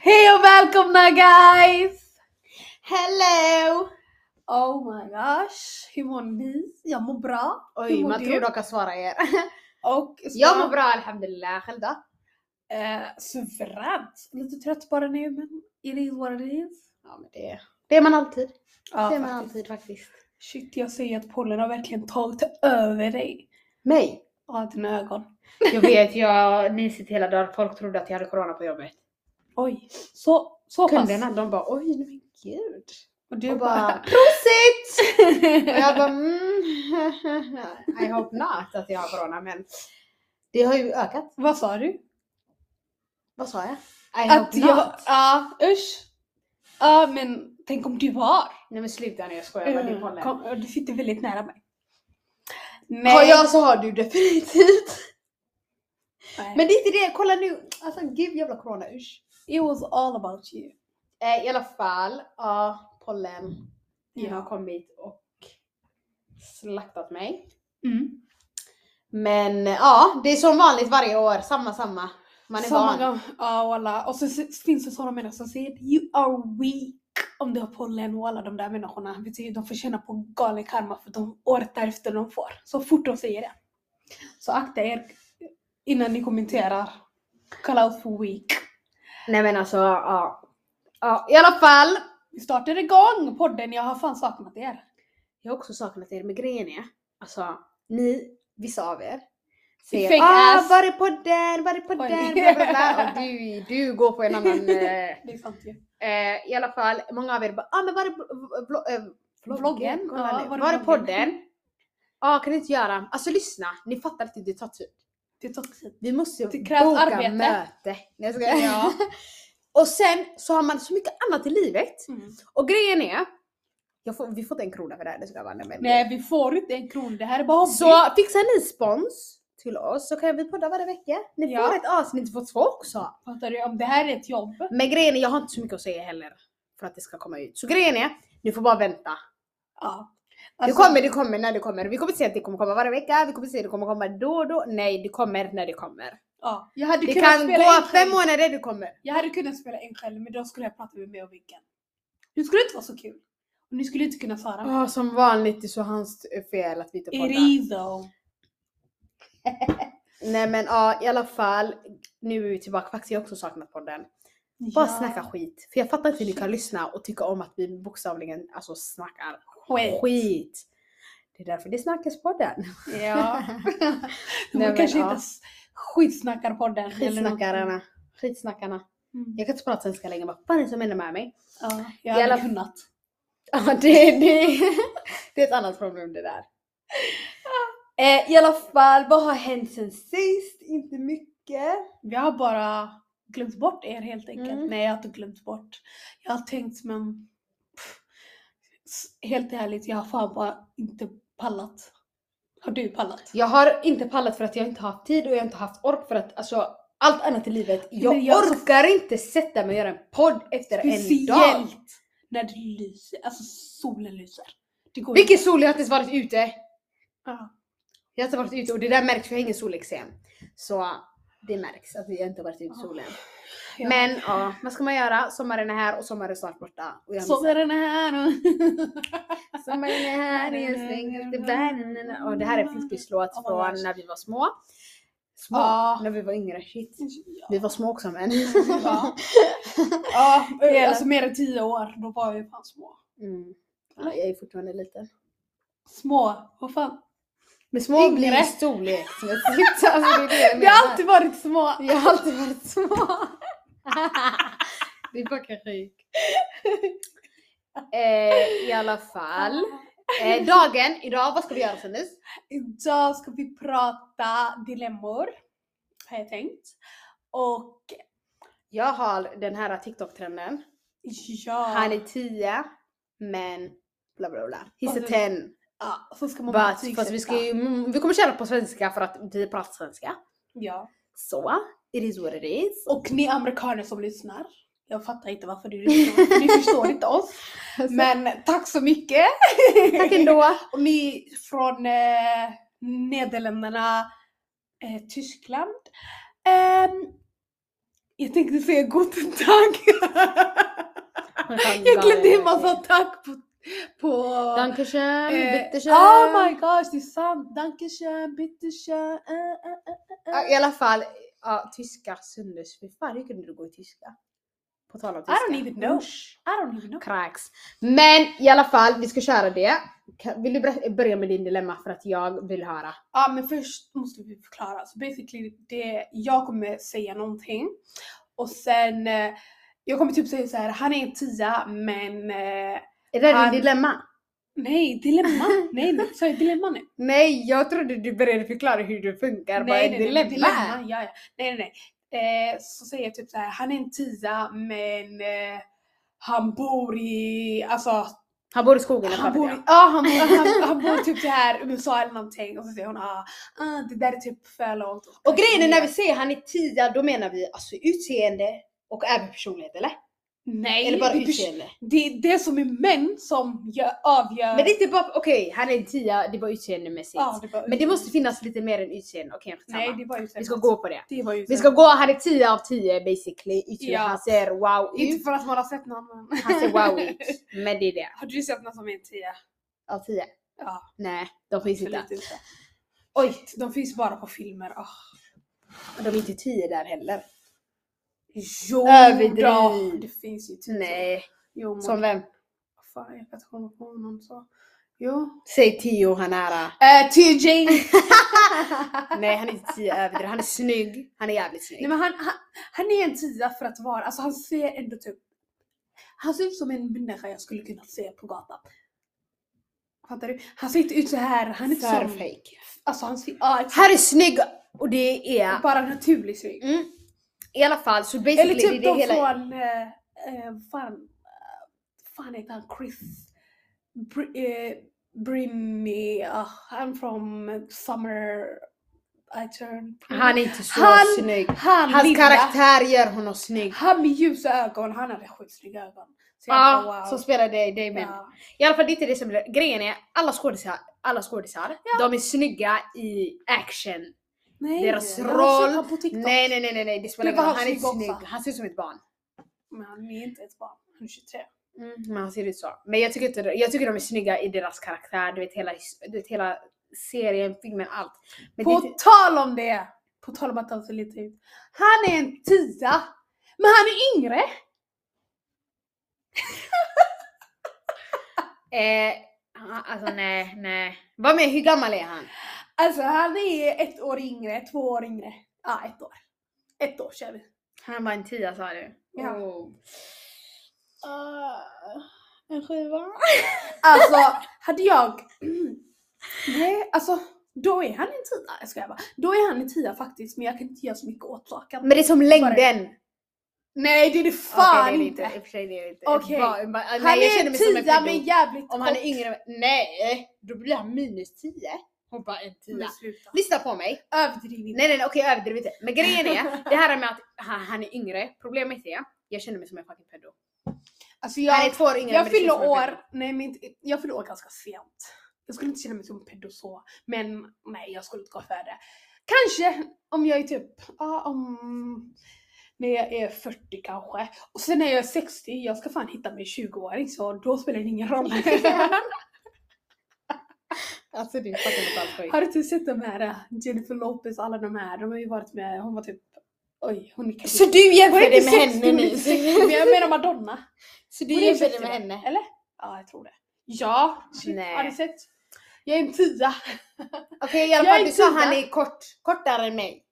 Hej och välkomna guys! Hello! Oh my gosh, hur mår ni? Jag mår bra. Hur Oj, mår man du? tror dock jag svarar er. Och Jag mår bra alhamdulillah, själv då? Eh, suveränt. Lite trött bara nu men it is what it is. Ja men det, det är man alltid. Ja, det är man faktiskt. alltid faktiskt. Shit jag säger att pollen har verkligen tagit över dig. Mig? Ja dina ögon. Jag vet, jag nysit hela dagen. Folk trodde att jag hade corona på jobbet. Oj, så, så pass. Kunderna de bara oj men gud. Och du Jag bara bara... prosit! Och jag bara mm, I hope not att jag har corona men det har ju ökat. Vad sa du? Vad sa jag? I Att hope jag... not. Ja usch. Ja men tänk om du har. Nej men sluta nu jag skojar bara, det är pollen. Kom, du sitter väldigt nära mig. Nej. Har jag så har du definitivt. Nej. Men det är inte det, kolla nu! Alltså gud jävla corona, usch. It was all about you. Eh, I alla fall, ja pollen. Ja. har kommit och slaktat mig. Mm. Men eh, ja, det är som vanligt varje år, samma samma. Man är van. gång. Ja walla. Och så s- finns det sådana människor som säger you are weak. Om du har pollen och alla de där människorna. Vet du, de får känna på galen karma för de året därefter de får. Så fort de säger det. Så akta er innan ni kommenterar. Call out for weak. Nej men alltså, ja. ja. I alla fall. Vi startar igång podden. Jag har fan saknat er. Jag har också saknat er, men grejen är, alltså ni, vissa av er. Fake Säger ah, ass." var är podden, var är podden, bla bla bla. Och du, du går på en annan eh, Det är sant ju. Eh, I alla fall, många av er bara ah, men var är bl- bl- eh, vloggen? Vloggen? Kolla Ja, nu. var är var är vloggen? podden? Ja, kan ni inte göra? Alltså lyssna, ni fattar inte, det tar tid. Det tar tid. Vi måste Det krävs boka arbete. möte. Nej, jag skojar. Och sen så har man så mycket annat i livet. Mm. Och grejen är, jag får, vi får inte en krona för det här, det ska jag vara nej, men- Nej vi får inte en krona. Det här är bara hobby. Så fixar ni spons till oss så kan vi podda varje vecka. Ni Ja. får ett avsnitt, ni får två också. Fattar du? Om det här är ett jobb. Men grejen är, jag har inte så mycket att säga heller för att det ska komma ut. Så grejen är, ni får bara vänta. Ja. Alltså- det kommer, det kommer när det kommer. Vi kommer inte säga att det kommer komma varje vecka, vi kommer inte säga att det kommer komma då och då. Nej, det kommer när det kommer. Ja. Jag hade det kunnat kan spela gå in fem själv. månader, det kommer. Jag hade kunnat spela in själv men då skulle jag prata med mig och Viggen. Det skulle inte vara så kul. Och ni skulle inte kunna svara. Ja, som vanligt det är så hans fel att vi inte It poddar. is though. Nej men ja, i alla fall. Nu är vi tillbaka, faktiskt jag har också saknat podden. Bara snacka skit. För jag fattar inte hur ni kan lyssna och tycka om att vi bokstavligen alltså snackar skit. skit. Det är därför det snackas podden. Ja. De men, kanske ja. inte s- skitsnackarpodden. eller något. Skitsnackarna. Skitsnackarna. Mm. Jag kan inte prata svenska längre, vad fan är det som händer med mig? Ja, I jag hade alla- kunnat. Ja, det, det, det är ett annat problem det där. Eh, I alla fall, vad har hänt sen sist? Inte mycket. Vi har bara glömt bort er helt enkelt. Mm. Nej jag har inte glömt bort. Jag har tänkt men pff, s- helt ärligt jag har fan bara inte pallat. Har du pallat? Jag har inte pallat för att jag inte har haft tid och jag har inte haft ork för att alltså, allt annat i livet. Jag Men jag- orkar inte sätta mig och göra en podd efter en dag. Speciellt när det lyser, alltså solen lyser. Det går Vilken sol, jag har inte ens varit ute. Ja. Jag har inte varit ute och det där märks för jag har ingen solexem. Så det märks att jag inte har varit ute i Ja. solen. Ja. Men ja, vad ska man göra? Sommaren är här och sommaren är snart borta. Och jag har missat Sommaren är här och... Som är här i en släng efter världen. Och det här är Fimpis låt Oh my från gosh. när vi var små. Små? Ja. När vi var yngre. Shit. Vi var små också men. Ja. ja, Hela- alltså mer än tio år, då var vi fan små. Mm. Ja, jag är fortfarande liten. Små, vad fan. Men små Yngre. blir storlek. Så jag tyckte, alltså, det är det jag Vi har menar. alltid varit små. Jag har alltid varit små. det är bara sjuk. eh, I alla fall. Eh, dagen idag, vad ska vi göra Sandus? Idag ska vi prata dilemmor, har jag tänkt. Och Jag har den här TikTok-trenden. ja, Han är 10 men bla bla bla. He's Och a nu- 10. ja, så ska Alltså, man But, fast vi, ska ju, mm, vi kommer köra på svenska för att vi pratar svenska. Ja. Så, it is what it is. Och ni amerikaner som lyssnar, jag fattar inte varför du lyssnar, för ni förstår inte oss. Men tack så mycket! Tack ändå. Och ni från eh, Nederländerna, eh, Tyskland. Ehm, Jag tänkte säga guten tag. Jag glömde hur man sa tack på... på Dankeschön, eh, bitteschön. Oh my gosh, det är sant. Dankeschön, bitteschön. eh, eh, eh. Ah, Ja, I alla fall, ja, tyska sönders. Fy fan, hur kunde du gå i tyska? På tal om I tyska. don't even know. Usch, I don't even know. Kräks. Men i alla fall, vi ska köra det. Kan- Vill du berätta- börja med din dilemma för att jag vill höra? Ja men först måste vi förklara. Så basically, det, jag kommer säga någonting och sen eh, jag kommer typ säga så här, han är en tia men eh, Är det Han- din dilemma? nej dilemma. nej nej, sa jag dilemma nu? Nej, jag trodde du började förklara hur du funkar. Vad är dilemma? dilemma ja, ja. Nej nej nej. Eh, så säger jag typ så här, han är en tia men eh, han bor i, alltså Han bor i skogen. jag Han fattar bor, det. ja, han, han, han bor typ så här USA eller någonting och så säger hon ah, ah det där är typ för långt. Och grejen är när vi säger han är tia, då menar vi alltså utseende och även personlighet eller? Nej, eller bara det, är pers- utseende? det är det som är män som gör, avgör. Men det är inte bara, okej han är en tia, det är bara utseendemässigt. ja, det var Men det måste finnas lite mer än utseende. Okej, Nej, skitsamma. det var ju Vi ska gå på det. Det var ju Vi ska gå, han är 10 av 10 basically. Utseende. Ja. Han ser wow Inte ut. för att man har sett någon men. Han ser wow ut. Men det är det. Har du sett någon som är en tia? Av 10? Ja, Nej, de finns inte. absolut inte. Oj, De finns bara på filmer. ah de är inte 10 där heller. Jo, Överdriv. då, det finns ju typ Nej. Jo, men Som vem? fan jag kan inte komma på någon så. Jo. Säg 10 han är. Eh, Tia Jane Nej han är inte 10 överdrivet. Han är snygg. Han är jävligt Nej snygg. men han, han, han är en tia för att vara, alltså han ser ändå typ han ser ut som en människa jag skulle kunna se på gatan. Fattar du? Han ser inte ut så här. Han är inte För som, fake. alltså han ser, ja, exakt. Han är snygg och det är... bara naturlig snygg. Mm. I alla fall så basically Eller typ det är de det hela... från, eh, eh, fan, eh, fan heter han Chris Br- eh, Brinny, ah, han från Summer I turn. Han är inte så Han- snygg. han Hans lilla. karaktär gör honom snygg. Han med ljusa ögon, han hade skitsnygga ögon. Så Ja, jag ah, bara, wow. som spelar det i Damon. Ja. I alla fall det är inte det som blir grejen är, alla skådisar, alla skådisar, de är snygga i action. Nej, Deras jag roll- har sett honom på TikTok. Nej nej nej nej, nej det spelar Det ingen roll, var han är inte snygg snygg. också. Han ser ut som ett barn. Men han är inte ett barn, han är 23. Mm, men han ser ut så. Men jag tycker, inte, jag tycker de är snygga i deras karaktär, du vet hela, his- du vet, hela serien, filmen, allt. Men det är På inte- tal om det! På tal om att han ser lite ut. Han är en tia! Men han är yngre! eh, ah, alltså nej, nej. Vad med, hur gammal är han? Alltså han är ett år yngre, två år yngre. Ja, ett år. Ett år kör vi. Han var en tia sa du? Ja. Ah, Oh. en sjuva? Alltså, hade jag... Nej, alltså då är han en tia. Jag skojar bara. Då är han en tia faktiskt, men jag kan inte göra så mycket åt saken. Men det är som längden. Nej, det är det Okej, fan det är det inte. inte. I och för sig det är det inte. Okej. Ett barn- ba- Han nej, jag är känner en mig som en tia pedofil. men jävligt Om han är yngre, nej, då blir han minus 10. Hon bara en tia. Sluta. Lyssna på mig. Överdriv inte. Nej nej nej okej jag överdriver inte. Men grejen är, det här med att han, han är yngre, problemet är, jag känner mig som en fucking pedo. Alltså Han är jag, två år yngre. men jag det känns som fyller en år, pedo. nej men inte, jag fyller år ganska sent. Jag skulle inte känna mig som en pedo så, men nej jag skulle inte gå för det. Kanske om jag är typ, ja om, när jag är 40 kanske. Och sen när jag är 60, jag ska fan hitta mig en 20-åring så då spelar det ingen roll. Alltså du fattar inte alls skit. Har du inte sett de här eh, Jennifer Lopez, alla de här, de har ju varit med, hon var typ, oj hon är kanske- Så du Hon jämför är dig inte med 60, henne hon är nu? inte 60, men jag menar Madonna. Så du Hon är jämför dig 60, med va? henne? Eller? Ja, jag tror det. Ja, shit. Nej. Har ni sett? Jag är en tia. Okej i alla Jag fall är du sa tia. han är kort, kortare än mig.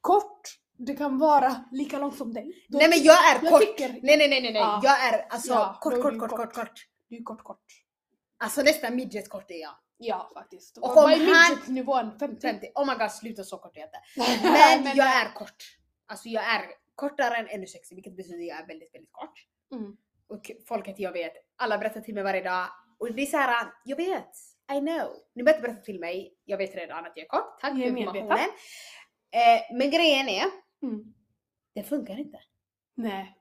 Kort. Det kan vara lika långt som dig. Då- Nej men jag är jag kort. tycker- Nej nej nej nej, nej. Ja. jag är alltså Ja, då kort, är kort, du kort, kort. kort, kort. Du är kort kort. Alltså nästan midget kort är jag. Ja, faktiskt. Och om Vad är han- midgetnivån? 50? 50. Oh my god sluta så kort är jag inte. Nej, Men, jag är kort. Alltså jag är kortare än 1,60 vilket betyder att jag är väldigt väldigt kort. Mm. Och folket jag vet, alla berättar till mig varje dag. Och det är såhär, jag vet. I know. Ni behöver inte berätta till mig, jag vet redan att jag är kort. Tack Jag är för medveten. informationen. Eh, men grejen är, Mm. det funkar inte. Nej.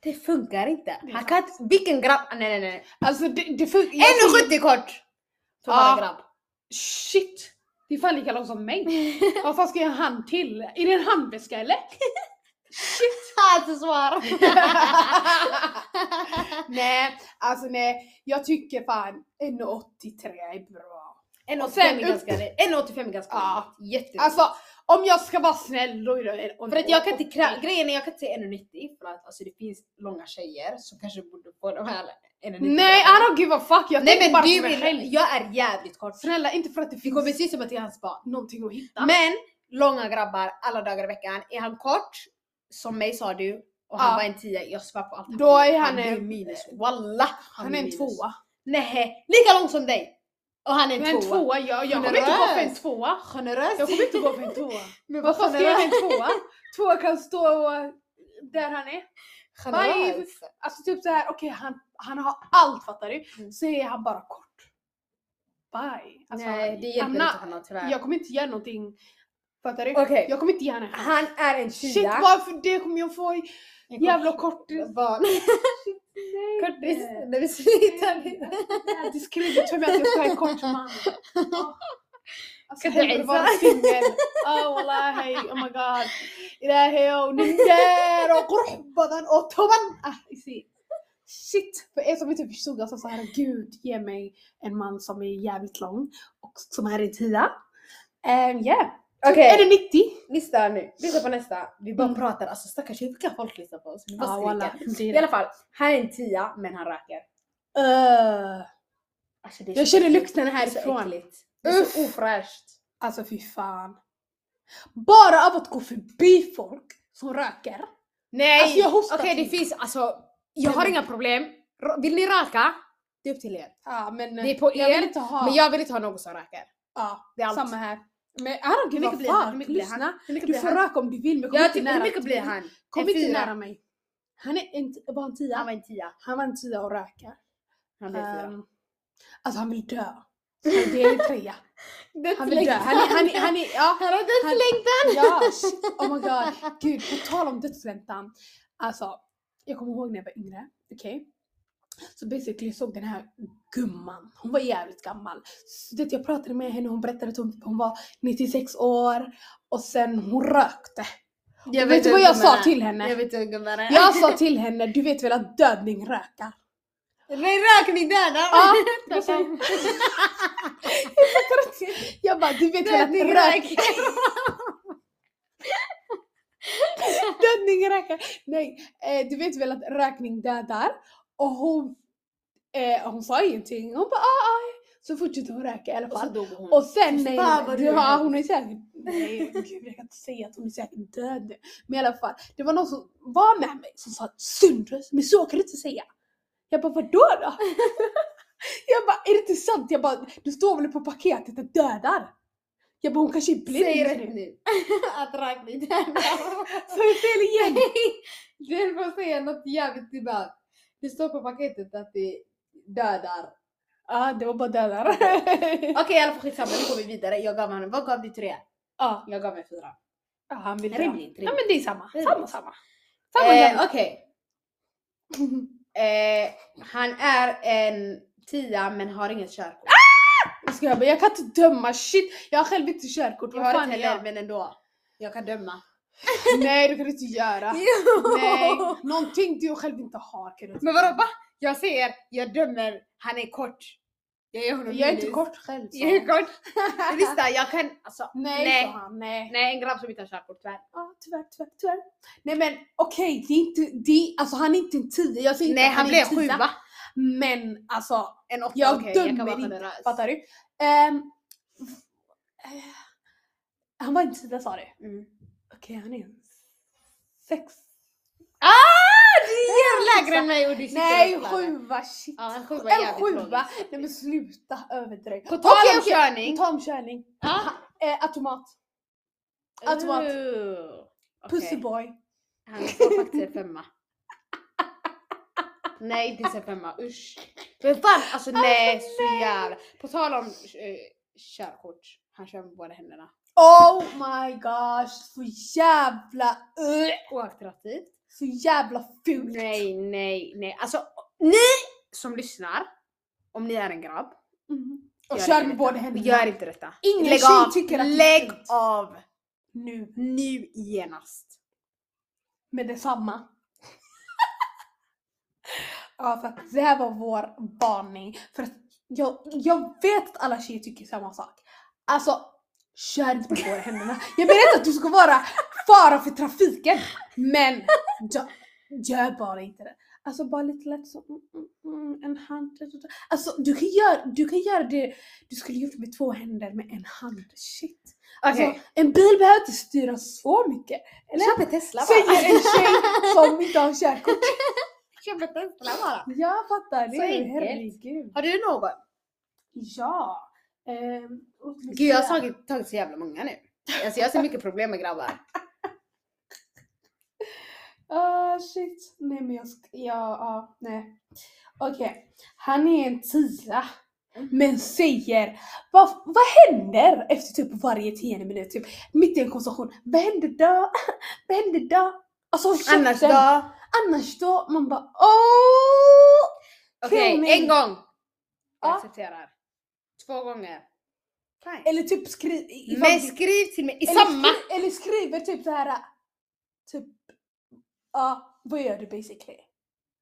Det funkar inte. Det är Han kan inte, vilken grabb, nej nej nej. Alltså det, det funkar... jag tycker- 1,70 kort! Som Ja. bara grabb. Shit! Det är fan lika långt som mig. Vad fan ska jag ha en hand till? Är det en handväska eller? Alltså, ansvar! nej, alltså nej. Jag tycker fan 1,83 är bra. 1,85 är ganska rimligt. 1,85 är ganska Ja. rimligt. Jätterimligt. Alltså om jag ska vara snäll då är det en- för att jag kan inte kra- grejen är jag kan inte säga 1,90 för att alltså, det finns långa tjejer som kanske borde få de här 1,90. Nej, I don't give a fuck. Jag Nej tänker men bara du på mig själv. vill, jag är jävligt kort. Snälla, inte för att det Det finns kommer se ut som att jag är hans barn. någonting att hitta. Men långa grabbar alla dagar i veckan. Är han kort, som mig sa du, och han Ja. var en tia, jag svär på allt. Då är han blir en- minus. Walla! han är en tvåa. Nej, lika lång som dig! Och han är en, Men en tvåa, jag, jag kommer inte gå för en Generös. tvåa. Generös! Jag kommer inte gå för en tvåa. Men Varför ska jag ha en tvåa? Tvåa kan stå och- där han är. Generös. Alltså typ så här, okej han, han har allt fattar du. Mm. Så är han bara kort. Bye. Alltså, Nej, det hjälper Anna, inte honom tyvärr. Jag kommer inte göra någonting. Fattar du? Okej. Jag kommer inte ge henne en chans. Han är en tia. Shit varför det kommer jag få i En kort- jävla kortis. barn. Nej. Kortis. Nej. Nej, vi slutar nu. Det är skrivet för mig att jag ska ha en kort man. Ja. Alltså Kan du hellre isa? vara singel. Oh wallahi, oh my god. إلهي ونندار وقرحبا وطبعا آه يصير. Ah, Shit! För er som inte förstod, alltså så här, gud ge mig en man som är jävligt lång och som är en tia. Um, yeah. Okej. Är det 90? Lyssna nu, lyssna på nästa. Vi bara Mm. pratar, alltså stackars hur kan folk lyssna på oss? Vi bara Ja, skriker. wallah. Det är I alla det. fall, han är en tia men han röker. Öh. Alltså, det är Jag så känner äckligt. lukten Det är så härifrån. äckligt. Det är så Uff. ofräscht. Alltså fy fan. Bara av att gå förbi folk som röker. Nej! Alltså, jag hostar Okej det till. finns alltså, jag Nej, har men- inga problem. Ra- Vill ni röka? Det är upp till er. Ja men Det är på jag er, vill inte ha. Men jag vill inte ha någon som röker. ja, Det är allt. samma här. Men I don't Hur give a mycket blir han? Hur fuck. mycket blir han? Lyssna. Hur mycket Du blir får han? röka om du vill men kom Ja, inte typ, nära. hur mycket blir han? Kom En inte fyra. nära mig. Han är en, var en Han tia. var en tia. Han var en tia och röker. Han blev fyra. Ehm, alltså han vill dö. Han- Det är en trea. Han vill dö. Han, är- han, är- han, är- ja, Han har Han- dödslängtan! Ja, shit, oh my god. Gud, på tal om dödsväntan. Alltså, jag kommer ihåg när jag var yngre, okej? Så basically jag såg den här gumman, hon var jävligt gammal. Så det, jag pratade med henne, hon berättade att hon, hon var 96 år och sen hon rökte. Jag vet du vad hur jag sa gumman är? till henne? Jag vet hur gumman är. Jag sa till henne, du vet väl att dödning rökar? Men rökning dödar! Ja, jag sa- Jag fattar inte. jag bara, du vet väl att Dödning rök, röker! dödning rökar. Nej, eh, du vet väl att rökning dödar. Och hon, eh, hon sa ingenting. Hon bara ah, ah. Så fortsatte hon röka i alla Och så fall. dog hon. Och sen Fy nej, fan, vad du är ja, hemsk. hon är säkert, nej gud jag kan inte säga att hon är säkert död nu. Men i alla fall, det var någon som var med mig som sa Sundres, men så kan du inte säga. Jag bara vadå då? jag bara är det inte sant? Jag bara du står väl på paketet att dödar? Jag bara hon kanske är blind. Säg rätt nu. Att rökning dödar. Så jag säger igen. Du höll på att säga något jävligt dumt. Det står på paketet att det dödar. Ja det var bara dödar. Okej i alla fall skitsamma, nu går vi vidare. Jag gav honom, vad gav du tre? ja, Jag gav mig fyra. ja, han vill dö. Rimligt. Ja rimligt. men det är samma, Det är samma det. samma. Samma Eh, jävla- Okej. Eh, han är en tia men har inget körkort. Jag ska jag bara, jag kan inte döma shit. Jag har själv inte körkort. Jag Vad har fan inte är heller jag? men ändå. Jag kan döma. Nej det kan du inte göra. Nej, någonting du själv inte har kan du inte Men vadå va? Jag säger, jag dömer, han är kort. Jag ger honom Jag är inte minus. kort själv. sa Jag han. är kort. Lyssna jag kan, alltså. Nej, Nej. nej. Han, nej. Nej en grabb som inte har körkort tyvärr. Ja, tyvärr, tyvärr, tyvärr. Nej men okej, det är inte, det är, alltså han är inte en tia. Jag säger inte Nej att han är blev en tia, sjua. Men alltså, En åtta, Jag okej, dömer jag kan vara inte, generös. fattar du? Ehm, eh, han var en tia sa du? Mm. Okej, han är en sex. Ah! Du är lägre än mig och du sitter Nej, och klagar. sjua, shit. Ja, en sjua är En jävligt låg. sjua! Nej men sluta överdriv. På tal om körning. På tal om körning. Ja. Eh, automat. Automat. Ooh. Okej. Pussyboy. Han får faktiskt en femma. Nej, det är en femma. Usch. Men fan, alltså nej, så jävla. På tal om eh, körkort. Han kör med båda händerna. Oh my gosh. Så jävla... Ugh, Oaktraktivt. så jävla fult. Nej, nej, nej. Alltså ni som lyssnar, om ni är en grabb. Mhm. Och gör kör inte med båda detta. händerna. Gör inte detta. Ingen Lägg tjej av. tycker att det är Lägg fult. av Nu. nu genast. med detsamma. ja, för att det här var vår varning. För att jag, jag vet att alla tjejer tycker samma sak. Alltså, kör inte med båda händerna. Jag menar inte att du ska vara fara för trafiken, men gör, gör bara inte det. Alltså bara lite lätt så, mm, mm, mm, en hand. Alltså du kan, göra, du kan göra det du skulle gjort med två händer med en hand. Shit. Alltså, Okej. En bil behöver inte styras så mycket. Eller? Köp en Tesla bara. Säger en tjej som inte har körkort. Köp en Tesla bara. Jag fattar det. Så enkelt. Herregud. Har du någon? Ja. Ehm, och ska vi Gud jag har säga- tagit, tagit så jävla många nu. Alltså jag har så mycket problem med grabbar. Ah shit. Nej men jag ska... Ja, ja nej. Okej. Han är en tia. Men säger, vad, vad händer efter typ varje tionde minut? Typ mitt i en konversation. Vad händer då? vad händer då? Alltså Annars käften. då? Annars då? Man bara åh! Okej, Kronor. en gång. Jag Ja. accepterar. Två gånger. Fine. Eller typ skriv... ifall Men du- skriv till mig i Eller samma! skri- Eller skriver typ så här. Typ. Ja, vad gör du basically?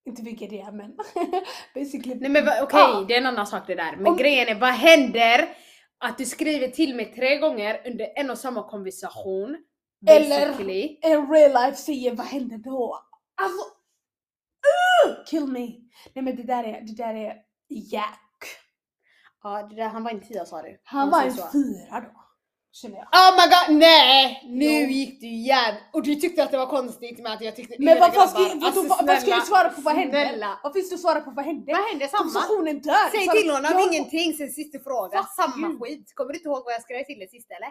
Inte vilket det är men. basically. "Ah, Nej men va- okej, Ja. det är en annan sak det där. Men Om- grejen är, vad händer att du skriver till mig tre gånger under en och samma konversation? Eller- basically? En real life säger vad händer då? Alltså. Uh, kill me. Nej men det där är, det där är Jack. Ja, det där, han var en tia sa du. Han Om var man en säger så. fyra då. Känner jag. Oh my god, nej! Nu Jo. gick du igen! Och du tyckte att det var konstigt med att jag tyckte Men mina vad fan ska, grabbar. vad, vad, Alltså, vad ska jag snälla, svara på vad händer? snälla. Vad finns det att svara på vad händer? Vad hände? Samma? Konversationen dör! Säg Så- till honom jag- Mm. ingenting sen sista frågan. Fuck Samma you. skit. Kommer du inte ihåg vad jag skrev till dig sist eller?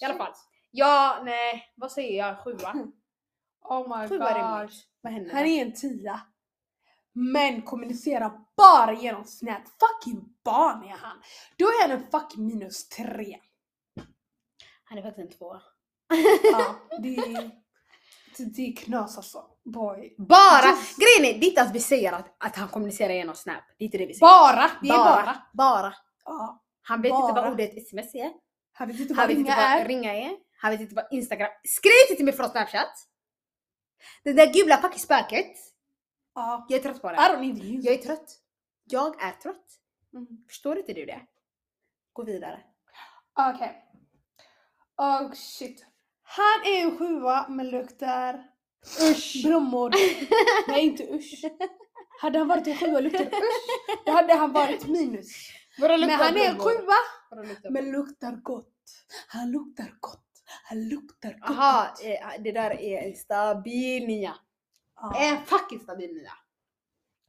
I alla fall. Ja, nej. Vad säger jag? Sjua? Oh my Sjua är god. rimligt. Vad händer? Han är en tia. Men kommunicerar bara genom Snap. Fucking barn är han. Då är han en fucking minus tre. Han är faktiskt en tvåa. Ja, det, är, det- det är knas alltså. Boy. Bara! Just- Grejen är, det är inte att vi säger att, att han kommunicerar genom Snap. Det är inte det vi säger. Bara! Det är bara. Bara. bara. Ja, Han vet Bara. inte vad ordet sms är. han vet inte Han vad vet ringa Typ inte vad är. ringa är. Han vet inte vad Instagram... Skriv inte till mig från Snapchat! Det där gula fucking spöket. Ja. Jag är trött på I det. don't need you. Jag är trött. Jag är trött. Mm. Förstår inte du det? Gå vidare. Okej. Oh shit. Han är en sjua men luktar Usch! blommor. Nej inte usch. Hade han varit en sjua och luktar usch, då hade han varit minus. Men han är en sjua Men luktar gott. Han luktar gott. Han luktar gott. Jaha, eh, det där är en stabil nia. Ja. En fucking stabil nia.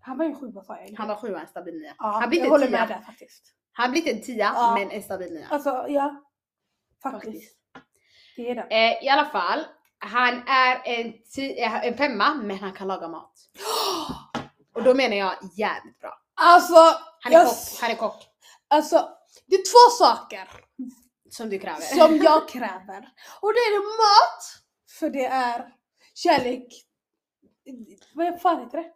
Han var ju sjua sa jag. Han var sjua, en stabil nia. ja, han blir jag inte en håller med tia. där faktiskt. Han blir inte en tia, Ja. men en stabil nia. Alltså ja. Faktiskt. Faktiskt. Det är det. Eh, I alla fall, han är en, ti- eh, en femma, men han kan laga mat. Och då menar jag jävligt bra. Alltså, Han är jag- kock, han är kock. alltså. Det är två saker Som du kräver. som jag kräver. Och det är mat. För det är kärlek. Vad fan heter det?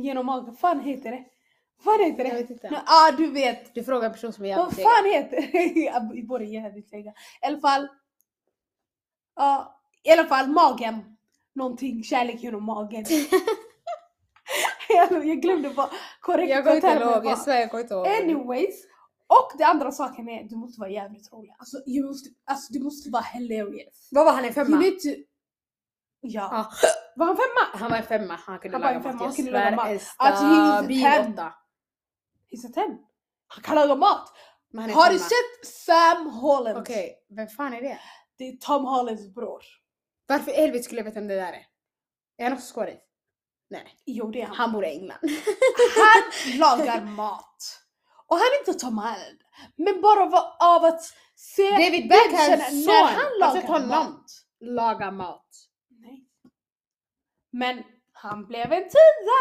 Genom magen. Vad fan heter det? Vad fan heter Jag det? vet Ja, inte. ah, du vet. Du frågar en person som är Vad jävligt egen. fan heter det? I Både jävligt sega. I alla fall. Ja, i alla fall magen. Någonting kärlek genom magen. jag, jag glömde vad korrekt Jag kommer inte termer ihåg, var. jag svär jag kommer inte ihåg. Anyways. Och den andra saken är du måste vara jävligt rolig. Alltså, you måste, alltså du måste vara hilarious. Vad var han en You femma? need to... Ja. Ja. Var han femma? Han var en femma, han kunde Han var laga en femma, mat. han Jag kunde laga mat. svär, en Alltså, he is a stabil ten. åtta. He's a ten. Han kan laga mat. Men han är Har du femma. sett Sam Holland? Okej, vem fan är det? Det är Tom Hollands bror. Varför i helvete skulle jag veta vem det där är? Är han också skådis? Nej, Jo det är han. han bor i England. Han lagar mat. Och han är inte Tom Holland. Men bara va- av att se... David känner- Beckhams son! när han Har du lagar sett honom? mat. Laga mat. Nej. Men han blev en tia!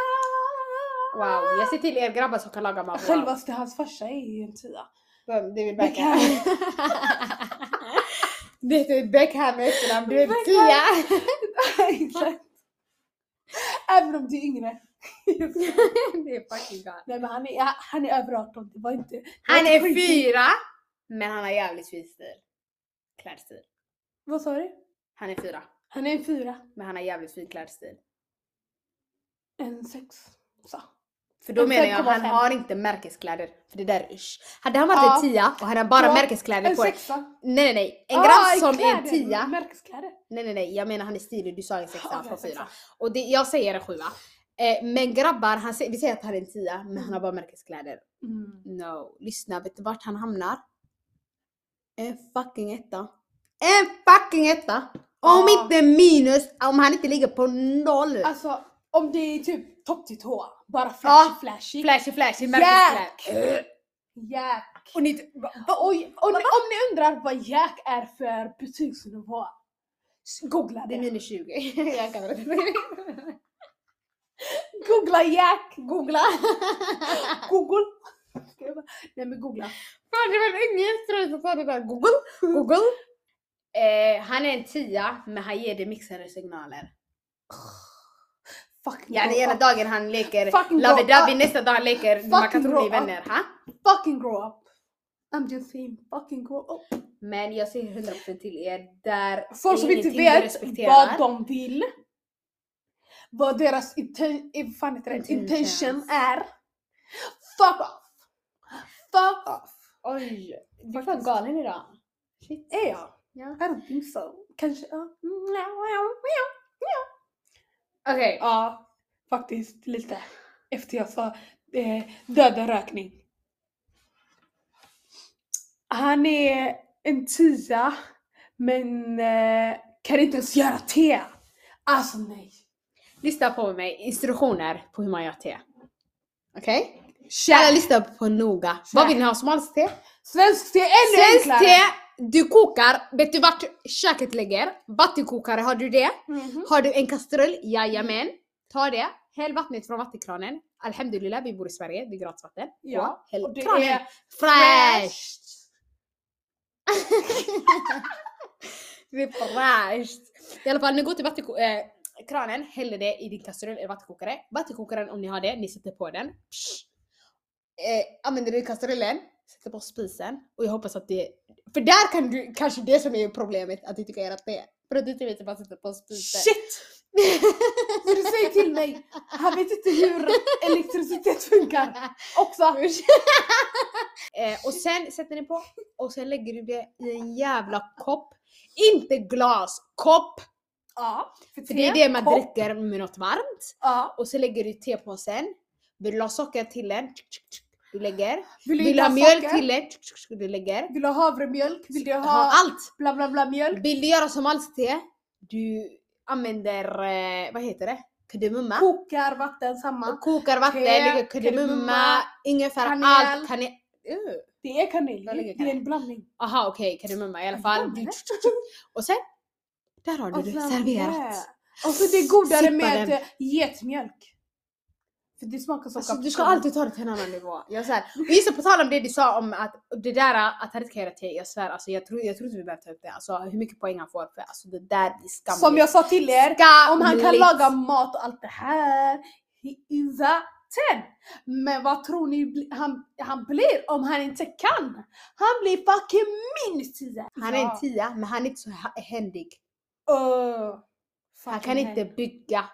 Wow, jag ser till er grabbar som kan laga mat. Wow. Självaste hans farsa är ju en tia. Vem? David Beckham. Beckham. det heter Beckham i efternamn, du är en tia! Exakt. Även om du är yngre. det är fucking galet. Nej men han är, han är över 18. Det var inte... det var Han inte är skit. fyra, men han har jävligt fin stil. Klädstil. Vad sa du? Han är fyra. Han är en fyra. Men han har jävligt fin klädstil. En sex. Så. För då En menar jag, han 5,5. har inte märkeskläder. För det där är usch. Hade han varit Ja. en tia och hade han bara Ja. märkeskläder En på sig. sexa. Nej nej nej. En Ah, grabb som är en kläder. tia. Märkeskläder. Nej nej nej, jag menar han är stilig. Du sa en sexa, Ja, han får okej, fyra. sexa. Och det, jag säger en sjua. Eh, men grabbar, han, sä- vi säger att han är en tia, men han har bara märkeskläder. Mm. No. Lyssna, vet du vart han hamnar? En fucking etta. En fucking etta! Om Ja. inte minus, om han inte ligger på noll. Alltså om det är typ topp till tå. Bara flashy Ja. flashy. Flashy flashy, Jack! märkeskläder. Jack. Och ni, va, va, Oj, om, om ni undrar vad Jack är för betygsnivå. s- Googla det är det. minus 20. jag kan inte. Googla Jack. Googla. Google. Ska jag bara- Nej men googla. Fan det var ingen strul som sa det där. Google, google. Eh, han är en tia men han ger dig mixade signaler. Fucking Ja, det grow ena up. dagen han leker Fucking Lovey grow Dovey, up. nästa dag han leker man kan Fucking tro ni är grow up. vänner. Ha? Fucking grow up. I'm just saying fucking grow up. Men jag säger 100% till er, där Folk som inte ingenting du vet respekterar. vad de vill. Vad deras inten- eh, fan heter det? Intentions. intention är. Fuck off. Fuck off. Oj, du är fan galen idag. Shit. Är jag? Ja. I don't think so. Kanske, ja. Okej, Ja, faktiskt lite. Efter jag sa eh, döda rökning. Han är en tia, men eh, kan inte ens göra te. Alltså nej. lyssna på mig. Instruktioner på hur man gör te. Okej? Alla Kär. lyssnar på noga. Vad vill ni ha? Smalt te? Svenskt te är ännu Svenskt enklare. te, du kokar. Vet du vart köket ligger? Vattenkokare, har du det? Mhm. Har du en kastrull? Jajamän. Ta det. Häll vattnet från vattenkranen. Alhamdulillah, vi bor i Sverige. Det är gratisvatten. Ja, Och häll och det kranen. är Fräscht! det är fräscht. I alla fall, nu går till vattenko- eh, kranen, häller det i din kastrull eller vattenkokare. Vattenkokaren om ni har det, ni sätter på den. Psh. Eh, använder du kastrullen, sätter på spisen och jag hoppas att det... För där kan du, kanske det som är problemet, att du inte kan göra det. För att du inte vet hur man sätter på spisen. Shit! När du säger till mig, han vet inte hur elektricitet funkar. Också. Eh, och sen sätter ni på och sen lägger du det i en jävla kopp. Inte glas, kopp! Ja, För det är det man kopp. dricker med något varmt. Ja. Och så lägger du tepåsen. Vill du ha socker till den? Du lägger. Vill Vill du inte ha mjölk socker? till den? Du lägger. Vill du ha havremjölk? Vill du Ha ha allt! bla bla bla mjölk? Vill du göra som alls te? Du använder, eh, vad heter det? Kardemumma. Kokar vatten samma. Och kokar vatten, Te, lägger kardemumma, kardemumma, ingefära, kanel. allt. Kanel. Uh. Det är kanel, Där ligger det är en blandning. Aha okej, kardemumma i alla fall. Kardemumma, Och sen, där har du det sen serverat. Alltså, det. Och så det är godare Sippa med den. eh, getmjölk. För det smakar som Alltså, du ska kapsel. alltid ta det till en annan nivå. Jag säger, och just på tal om det du sa om att det där att han inte kan göra te, jag svär alltså jag tror, jag tror inte vi behöver ta upp det. Alltså hur mycket poäng han får för alltså det där är skamligt. Som jag sa till er, om han kan Skamligt. laga mat och allt det här, he is a 10. Men vad tror ni bli- han, han blir om han inte kan? Han blir fucking minus 10. Han är en tia men han är inte så ha- händig. Öh, Han kan fucking inte bygga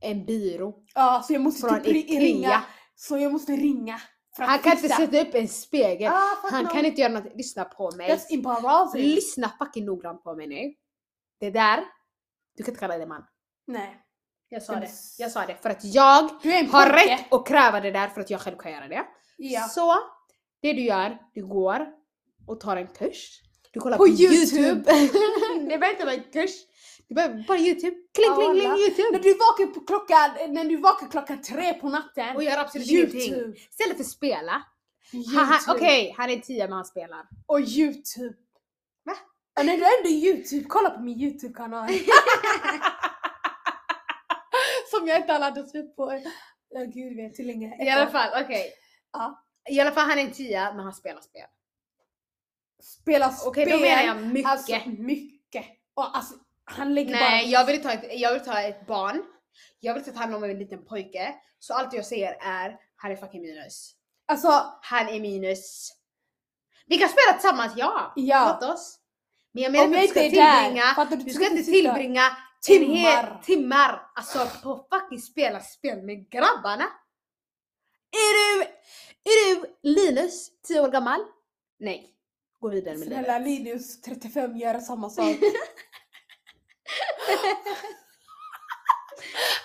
en byrå Ja, så jag måste från typ ri- Ikea. ringa. Så jag måste ringa. för att Han kan inte fixa. sätta upp en spegel. Ah, fuck Han no. kan inte göra något. Lyssna på mig. That's embarrassing. Lyssna fucking noggrant på mig nu. Det där, du kan inte kalla det man. Nej. Jag sa Men- det. Jag sa det för att jag Du är en har pojke. rätt att kräva det där för att jag själv kan göra det. Ja. Så det du gör, du går och tar en kurs. Du kollar På på, YouTube. YouTube. det behöver inte vara en kurs. Du behöver bara YouTube. Kling, kling, kling, Alla. När YouTube. du vaknar på klockan, när du vaknar klockan tre på natten. Och gör absolut ingenting. YouTube. Istället för att spela. YouTube. Haha, Okej, han är 10 men han spelar. Och YouTube. Va? Ja, när du ändå är YouTube, kolla på min YouTube-kanal. Som jag inte har laddat upp på. Ja, gud vet hur länge. Ett I alla år. fall, okej. Ja. I alla fall han är en 10 men han spelar spel. Spela Okej, spel. då menar jag mycket. Alltså mycket. Och alltså, han lägger bara... Nej, jag vill, ta ett, jag vill ta ett barn. Jag vill inte ta hand om en liten pojke. Så allt jag säger är, han är fucking minus. Alltså, Han är minus. Vi kan spela tillsammans, ja. Ja. Låt oss. Men jag menar Om att jag du ska inte är där, tillbringa, fattar du? du Du ska ska inte sitta tillbringa En hel Timmar. timmar! Alltså på fucking spela spel med grabbarna! Är du, är du Linus, 10 år gammal? Nej. Gå vidare med Snälla livet. Linus 35 gör samma sak.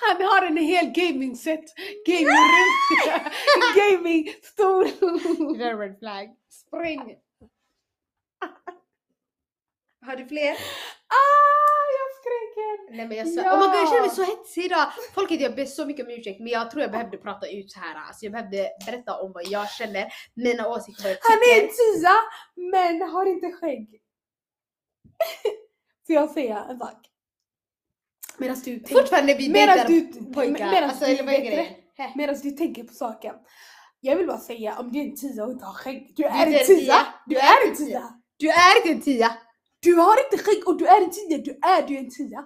Han har en hel gaming set, gaming room, gaming stor. Det där är red flag. Spring! Har du fler? Ah, jag skriker! Nej men jag svär. Ja. Oh my god jag känner mig så hetsig idag. Folket jag ber så mycket om ursäkt men jag tror jag behövde prata ut här. Alltså jag behövde berätta om vad jag känner, mina åsikter, vad jag Han är en tycker. tia men har inte skägg. Får jag säga en sak? Medan du, tänk, Fortfarande vi Medan dejtar du- pojkar. medan alltså du eller vad är vet grejen? Heh. medan du tänker på saken. Jag vill bara säga om du är en tia och inte har skägg. Du Du är en tia! Du är en tia. tia! Du är inte en tia! Du har inte skägg och du är en tia. Du är ju en tia.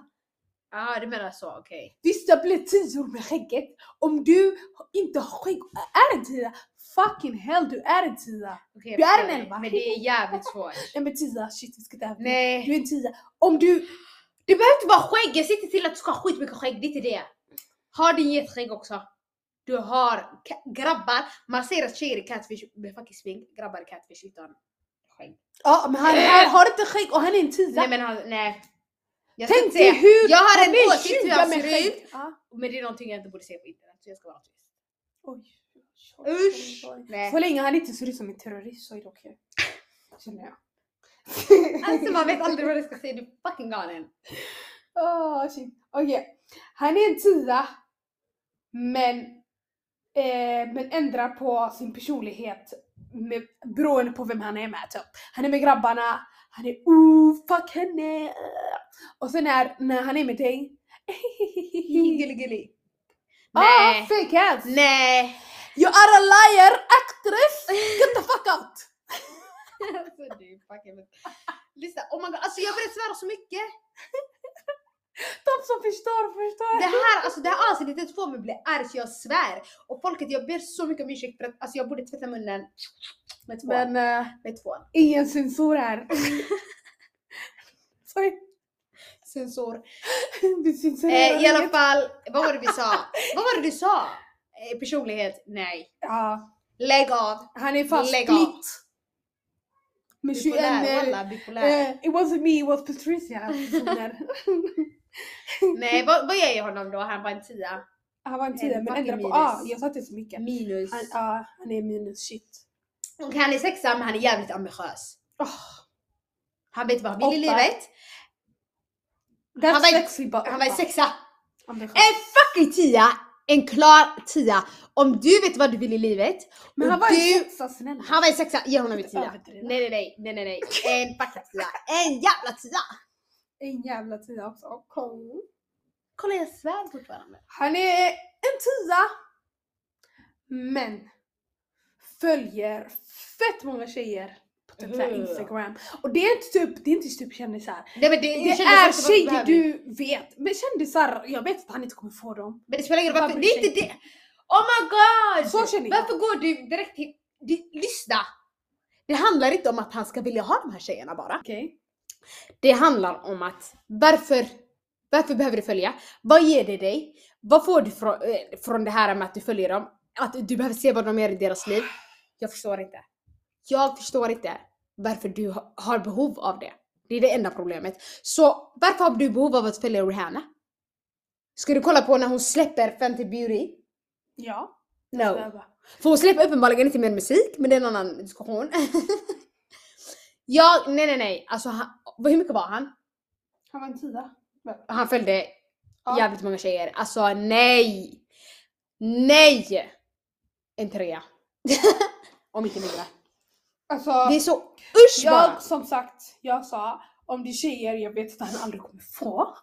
Jaha du menar så, okej. Vissa blir tior med skägget. Om du inte har skägg och är en tia. Fucking hell, du är en tia. Okej, jag Du är förstår en dig, elva. Men det är jävligt svårt. Nej men tia, shit vi ska inte även. Du Nej. är en tia. Om du... Du behöver inte vara skägg, jag ser inte till att du ska ha skitmycket skägg, det är inte det. Har din getskägg också. Du har ka- grabbar, man säger att tjejer är catfish med fucking smink, grabbar är catfish utan skägg. Ja men han, han har inte skägg och han är en Nej tia. men han, nej. Jag ska Tänk inte dig säga. hur... Jag har en Det är åsikt hur tjuvar han med ser ut. skägg. Ja. Men det är någonting jag inte borde se på internet så jag ska vara tyst. Oj. Usch! Oj, oj, oj. Nej. Så länge han inte ser ut som en terrorist så är det okej. Känner jag. Alltså man vet aldrig vad du ska säga, du är fucking galen. Åh, shit. Okej. Han är en tia. Men, eh, men ändrar på sin personlighet med, beroende på vem han är med. Typ. Han är med grabbarna. Han är oh fuck henne. Och sen när, när han är med dig. Gulligullig. Ah, Nej. fake ass. Nej. You are a liar actress. Get the fuck out. Alltså du är fucking... Lyssna, oh my god, alltså jag börjar svära så mycket. De som förstår förstår. Det här, alltså det här avsnittet får mig bli arg så jag svär. Och folket jag ber så mycket om ursäkt för att alltså, jag borde tvätta munnen med tvål. Men eh, Med tvål. ingen censur här. Sorry. Sensor. Vi censurerar Eh, I alla inget. fall, vad var det vi sa? vad var det du sa? Eh, personlighet? Nej. Ja, Lägg av. han är fast Lägg av. split. Med 21 Bipolär, eh, walla bipolär. eh, It wasn't me, it was Patricia. som där. Nej, vad, vad ger jag honom då? Han var en tia. Han var en En tia men fucking ändra på. minus. ah, Ja, jag sa inte så mycket. Minus. Han, ja, han är minus shit. Och han är sexa men han är jävligt ambitiös. Oh, Han vet vad han vill i Åtta. livet. that's Han var- sexy but ah, Han var en sexa. ambitiös. En fucking tia! En klar tia. Om du vet vad du vill i livet. Men och han var du... en sexa snälla. Han var en sexa, ge honom en tia. Överdriva. Nej nej nej, nej nej nej. En fucking tia. En jävla tia! En jävla tia också. Kom. Kolla jag svär fortfarande. Han är en tia. Men följer fett många tjejer på typ såhär Ugh. Instagram. Och det är inte typ, det är inte typ kändisar. Nej men det, Det, kändes är också väldigt tjejer behövligt. du vet. Men kändisar, jag vet att han inte kommer få dem. Men det spelar ingen roll, Fan, varför- det är inte det. Oh my god! Så känner jag. Varför går du direkt till... Du, lyssna! Det handlar inte om att han ska vilja ha de här tjejerna bara. Okej. Det handlar om att varför, varför behöver du följa? Vad ger det dig? Vad får du från, eh, från det här med att du följer dem? Att du behöver se vad de gör i deras liv? Jag förstår inte. Jag förstår inte varför du ha- har behov av det. Det är det enda problemet. Så varför har du behov av att följa Rihanna? Ska du kolla på när hon släpper Fenty Beauty? Ja. No. Jag bara, För hon släpper uppenbarligen inte mer musik, men det är en annan diskussion. ja, nej nej nej. Alltså, han, hur mycket var han? Han var en tia. Han följde Ja. jävligt många tjejer. Alltså nej! Nej! En trea. Om inte mindre. Alltså, Det är så usch bara! jag som sagt, jag sa om det är tjejer jag vet att han aldrig kommer få.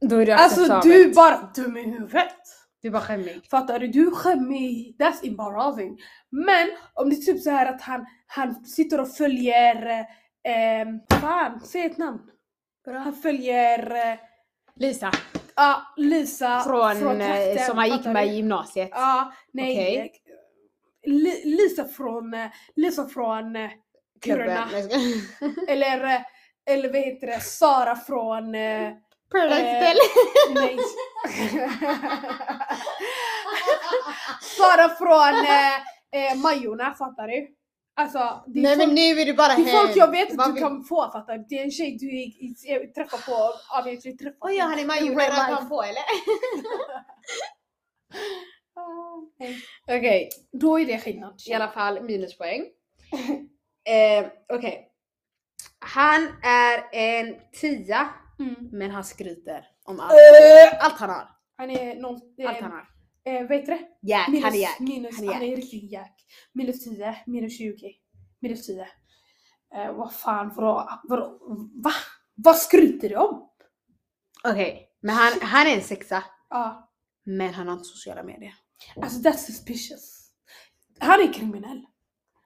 Då är du Alltså acceptabel. du är bara dum i huvudet. Du är bara skämmig. Fattar du? Du skämmer That's embarrassing. Men om det är typ så här att han, han sitter och följer... Eh, ehm, fan, säg ett namn. Han följer eh, Lisa, ja, Lisa från, eh, trakten, som han gick fattar med du? i gymnasiet. Ja, nej. eh, Okej. Li- Lisa från... eh, Lisa från... eh, Klubben. Kiruna. Eller, eh, eller vad heter det? Sara från... Eh, Paradise Eh. Hotel. Nej. Sara från eh, eh, Majorna, fattar du? Alltså, det är Nej folk- men nu är du bara Det är folk jag vet Vad att du vill- kan få fattar du? Det är en tjej du i- i- träffar på, ja vi har träffat. Oj, han är In majorna real rakt life. han på eller? Nej. Okej, Då är det skillnad. i alla fall minuspoäng. eh, Okej. Han är en tia, Eh. Mm. men han skryter om allt. Allt han har. Han är någon, eh, Allt han har. eh, vad heter det? Jack, han är Minus, Jack. minus, Han han är är, riktigt jack. Minus 10, minus 20, minus 10. Eh, vad fan, vadå? vadå? Va? Vad skryter du om? Okej, men han, han är en sexa. Ja, Men han har inte sociala medier. alltså that's suspicious. Han är kriminell.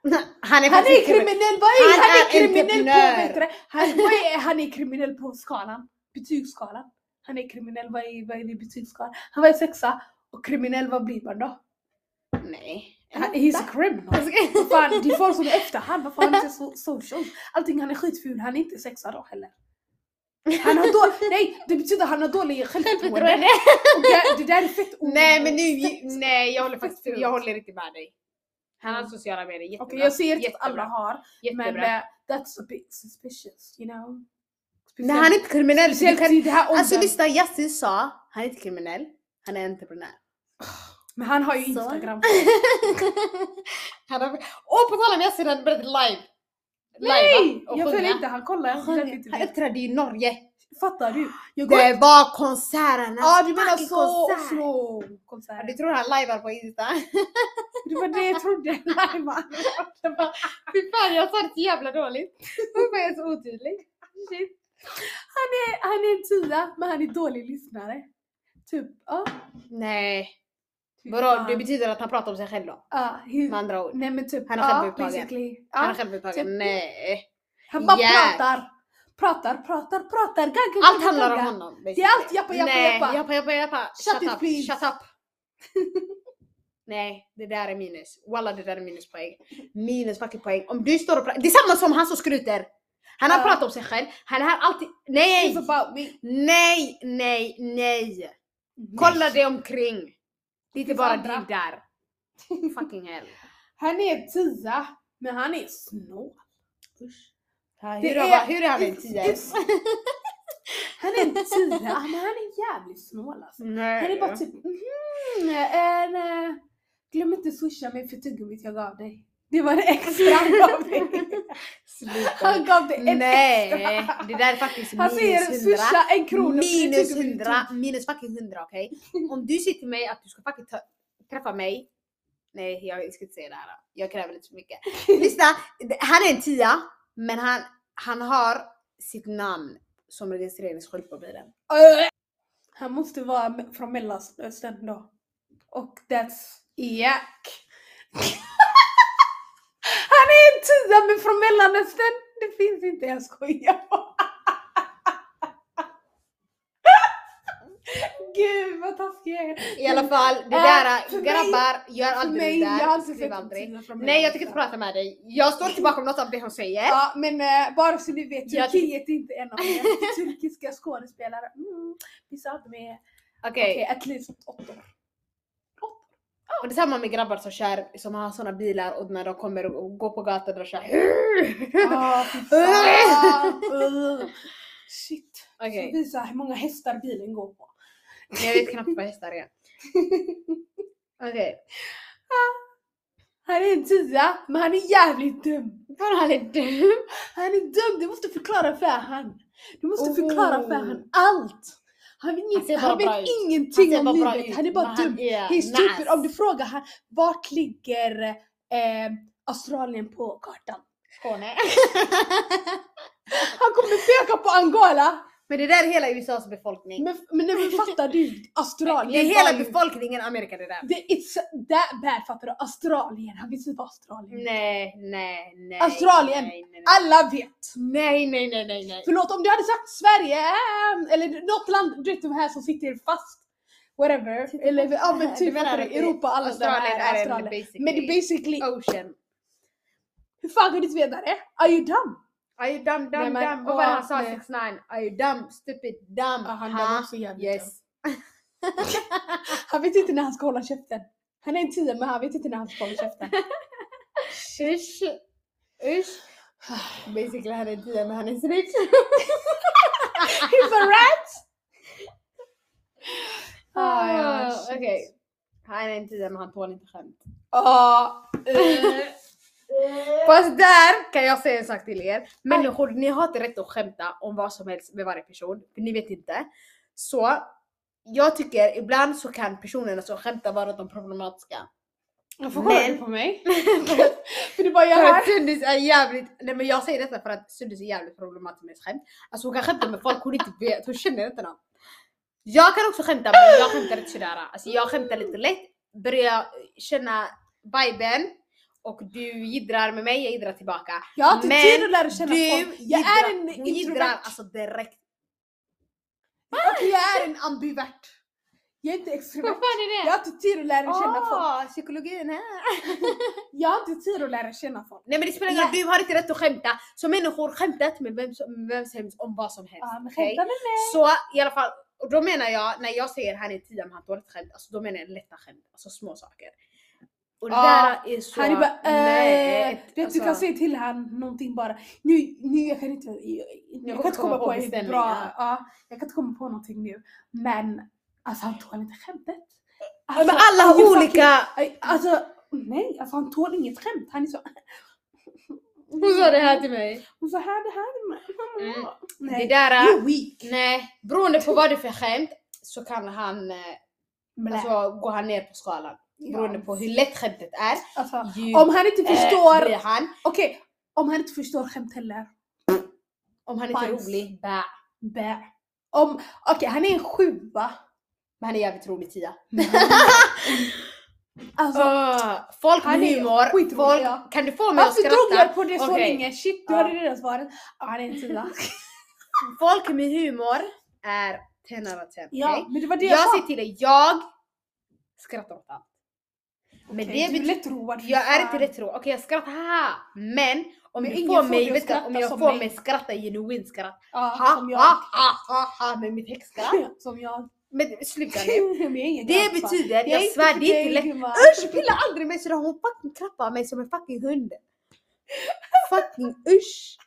Han är, Han är faktiskt- kriminell, vad är Han han? är är kriminell på, entreprenör. vet du det? han, vad är, han är kriminell på skalan, betygsskalan. Han är kriminell, vad är, vad är det i betygsskalan? Han var ju sexa och kriminell, vad blir man då? Nej. Han, he's a criminal. Fan, det är folk som är efter han, varför har han inte so social? Allting, han är skitful, han är inte sexa då heller. Han har då, nej, det betyder att han har dålig självförtroende. Och det, det där är fett o- nej men fett- nu, nej jag håller faktiskt jag håller inte med dig. Han har sociala medier, jättebra. Okej, jag ser inte att jättebra, alla har, Jättebra. men eh, that's a bit suspicious, you know? Nej han är inte kriminell. så du Speciellt kan, i det här alltså åldern. lyssna, Yasin sa han är inte kriminell, han är entreprenör. Men han har ju Så. Instagram. han har, och på tal om Yasin, han började live. Nej! va? Och Jag sjunga. följer inte, han kollar. Han Jag sjöng- vet inte Han det. uppträdde i Norge. Fattar du? Jag går... Det var konserterna. Ja ah, du menar fucking så konsert. Oslo-konsert. Du tror han lajvar på Insta? Det var det jag trodde. Nej, man. Fy fan jag sa det så jävla dåligt. Varför är jag så otydlig? Shit. Han är, han är en tia men han är dålig lyssnare. Typ, ja. Nej. Fy Vadå fan. det betyder att han pratar om sig själv då? Ja, hur- Med andra ord. Nej men typ, Han är ja, självupptagen. basically. Han är Ja. självupptagen. typ- Nej. Han bara Jack. pratar. Pratar, pratar, pratar. Gagga, Allt gagga, handlar om gagga. honom. Det är allt jappa, jappa, Nej, jappa. jappa, jappa, jappa. Shut Shut it, up, please. shut up. Nej, det där är minus. Walla det där är minuspoäng. Minus fucking poäng. Om du står och pratar. Det är samma som han som skryter. Han har Ja. pratat om sig själv. Han har alltid... Nej! It's about me. Nej, nej, nej. Kolla dig omkring. Det är inte finns bara andra. du där. Fucking hell. Han är en tia men han är snål. Det Hur, är- är, hur är han en it's- tia? it's- Han är en tia men han är jävligt snål alltså. Han är bara typ mhm, en, eh, glöm inte swisha mig för tuggummit jag gav dig. Det var det extra han gav dig. Han Sluta. gav dig en Nej, extra. det där är faktiskt Han säger minus hundra. swisha en krona för Minus ett tuggummit. hundra, minus fucking hundra okej? Om du säger till mig att du ska fucking ta, träffa mig. Nej jag ska inte säga det här. då. Jag kräver lite för mycket. Lyssna, det- han är en tia men han, han har sitt namn som registreringsskylt på bilen. Äh. Han måste vara me- från Mellanöstern då. Och that's Jack. Han är en tia men från Mellanöstern. Det finns inte, jag skojar bara. Gud vad taskig jag är. I alla fall, det Äh, där för mig- grabbar, gör För aldrig mig, det där. jag har alltid skriv sett en aldrig. tia från Nej jag tänker inte Mellanöstern. prata med dig. Jag står inte bakom något av det hon säger. Ja men eh, bara så ni vet, Jag- Turkiet är inte en av er. Turkiska skådespelare, mm, vissa av dem är Okej, okej, at least åttor. och det är samma med grabbar som kör, som har såna bilar och när de kommer och och går på gatan och kör. Ja, Ah, fy fan. Ugh. Shit. Okej. Så visa hur många hästar bilen går på. Jag vet knappt vad hästar är. Okej. Han är en tia, men han är jävligt dum. Var han är dum? Han är dum, du måste förklara för han. Du måste Oh. förklara för han allt. Han, Han ser vet bara han bra vet ut. ingenting om livet, han är bara dum. He's stupid. Om du du... frågar han, vart ligger eh, Australien på kartan? Skåne. Han kommer peka på Angola! Men det där är hela USAs befolkning. Men, men, nej, men fattar du? Australien Det är var hela ju- befolkningen i Amerika det där. Det it's that bad fattar du? Australien, han visste inte vad Australien är. Nej, nej, nej. Australien. Nej, nej, nej. Alla vet! Nej, nej, nej, nej, nej. Förlåt om du hade sagt Sverige ehm, eller något land, du vet de här som sitter fast. Whatever. Eller ja men Du typ menar fattar att du? det- Europa, alla de Australien här är en Australien. basically Oh. Men det är basically, ocean. hur fan kan du inte veta det? Are you dumb? Are you dumb, Nej, dumb, men, dumb? Vad var det han åh, sa? nej. 6 9 Are you dumb, stupid, dumb? Ja, han ha? dömer också jävligt dum. Yes. Han vet inte när han ska hålla käften. Han är en tia men han vet inte när han ska hålla käften. Usch. Usch. Basically han är en tia men han är en snitch. He's a rat! Ah, ja, Ah, shit. Okej. Han är en tia men han tål inte skämt. Ja, Fast där kan jag säga en sak till er. Människor, ni har inte rätt att skämta om vad som helst med varje person. För ni vet inte. Så jag tycker ibland så kan personerna som skämtar vara de problematiska. Varför kollar du Men- på mig? För du bara, jag För att hör. Sundis är jävligt, nej men jag säger detta för att Sundis är jävligt problematisk med skämt. Alltså hon kan skämta med folk hon inte vet, hon känner inte dem. Jag kan också skämta men jag skämtar inte sådär. Alltså jag skämtar lite lätt, börjar känna viben och du jiddrar med mig, jag jiddrar tillbaka. Jag har inte Men tid att lära känna Du folk. Jag är jiddrar- en hon jiddrar introvert. alltså direkt. Okej, jag är en ambivert. Jag är inte extrovert. är Jag har inte tid att lära känna folk. Ah, psykologin här. Jag har inte tid att lära känna folk. Nej men det spelar ingen roll, du har inte rätt att skämta. Så människor skämtar inte med vem som, vem som helst om vad som helst. Ja, men okej? skämta med mig. Så i alla fall, och då menar jag, när jag säger han är tia men han tål ett skämt, alltså då menar jag lätta skämt, alltså små saker. Och det Ja, där är så... Han är bara nej, eh, vet du kan alltså, säga till han någonting bara. Nu, nu jag kan inte, jag, jag kan kommer inte komma på på ett beställning, bra, ja. ja, jag kan inte komma på någonting nu. Men alltså han tål inte skämtet. men Alltså, alla you har fucking- olika... Aj, Alltså nej, alltså han tål inget skämt. Han är så, Hon sa det här till mig. och så här det här. med- Mm. Nej, Det där, you're weak. nej, beroende på vad det är för skämt så kan han, eh, Blä. alltså går han ner på skalan. Ja, Beroende på hur lätt skämtet är. alltså, Ju, om han inte eh, förstår, blir han. okej, om han inte förstår skämt heller. Om han inte är Bajs. rolig, bä. Bä. Om, okej han är en sjua. Mm. Men han är jävligt rolig tia. Alltså, Ah, folk med Han är humor, skitrolig, folk, ja. kan du få mig att Varför drog skratta? jag på det så Okej. länge? Shit, du Ja. hade redan svaret. Ja, han är en tia. Folk med humor är 10 av 10. Ja, okej? men det var det jag, Jag sa. säger till dig, jag skrattar åt allt. Men Okej, det du är betyder... lätt road. fy Jag är inte fan. rätt Okej jag skrattar, haha. Men om Men du ingen får får dig mig, att vet du, skratta om jag som får mig. mig skratta genuint skratt. Ja, Ha, som ha, jag. ha, ha, ha med mitt häxskratt. Som jag. Men sluta nu. Men jag är ingen Det grabbar. betyder, är jag inte svär, för det är dig, inte lätt. gumman. Usch, pilla aldrig mig sådär. Hon fucking klappar mig som en fucking hund. Fucking usch.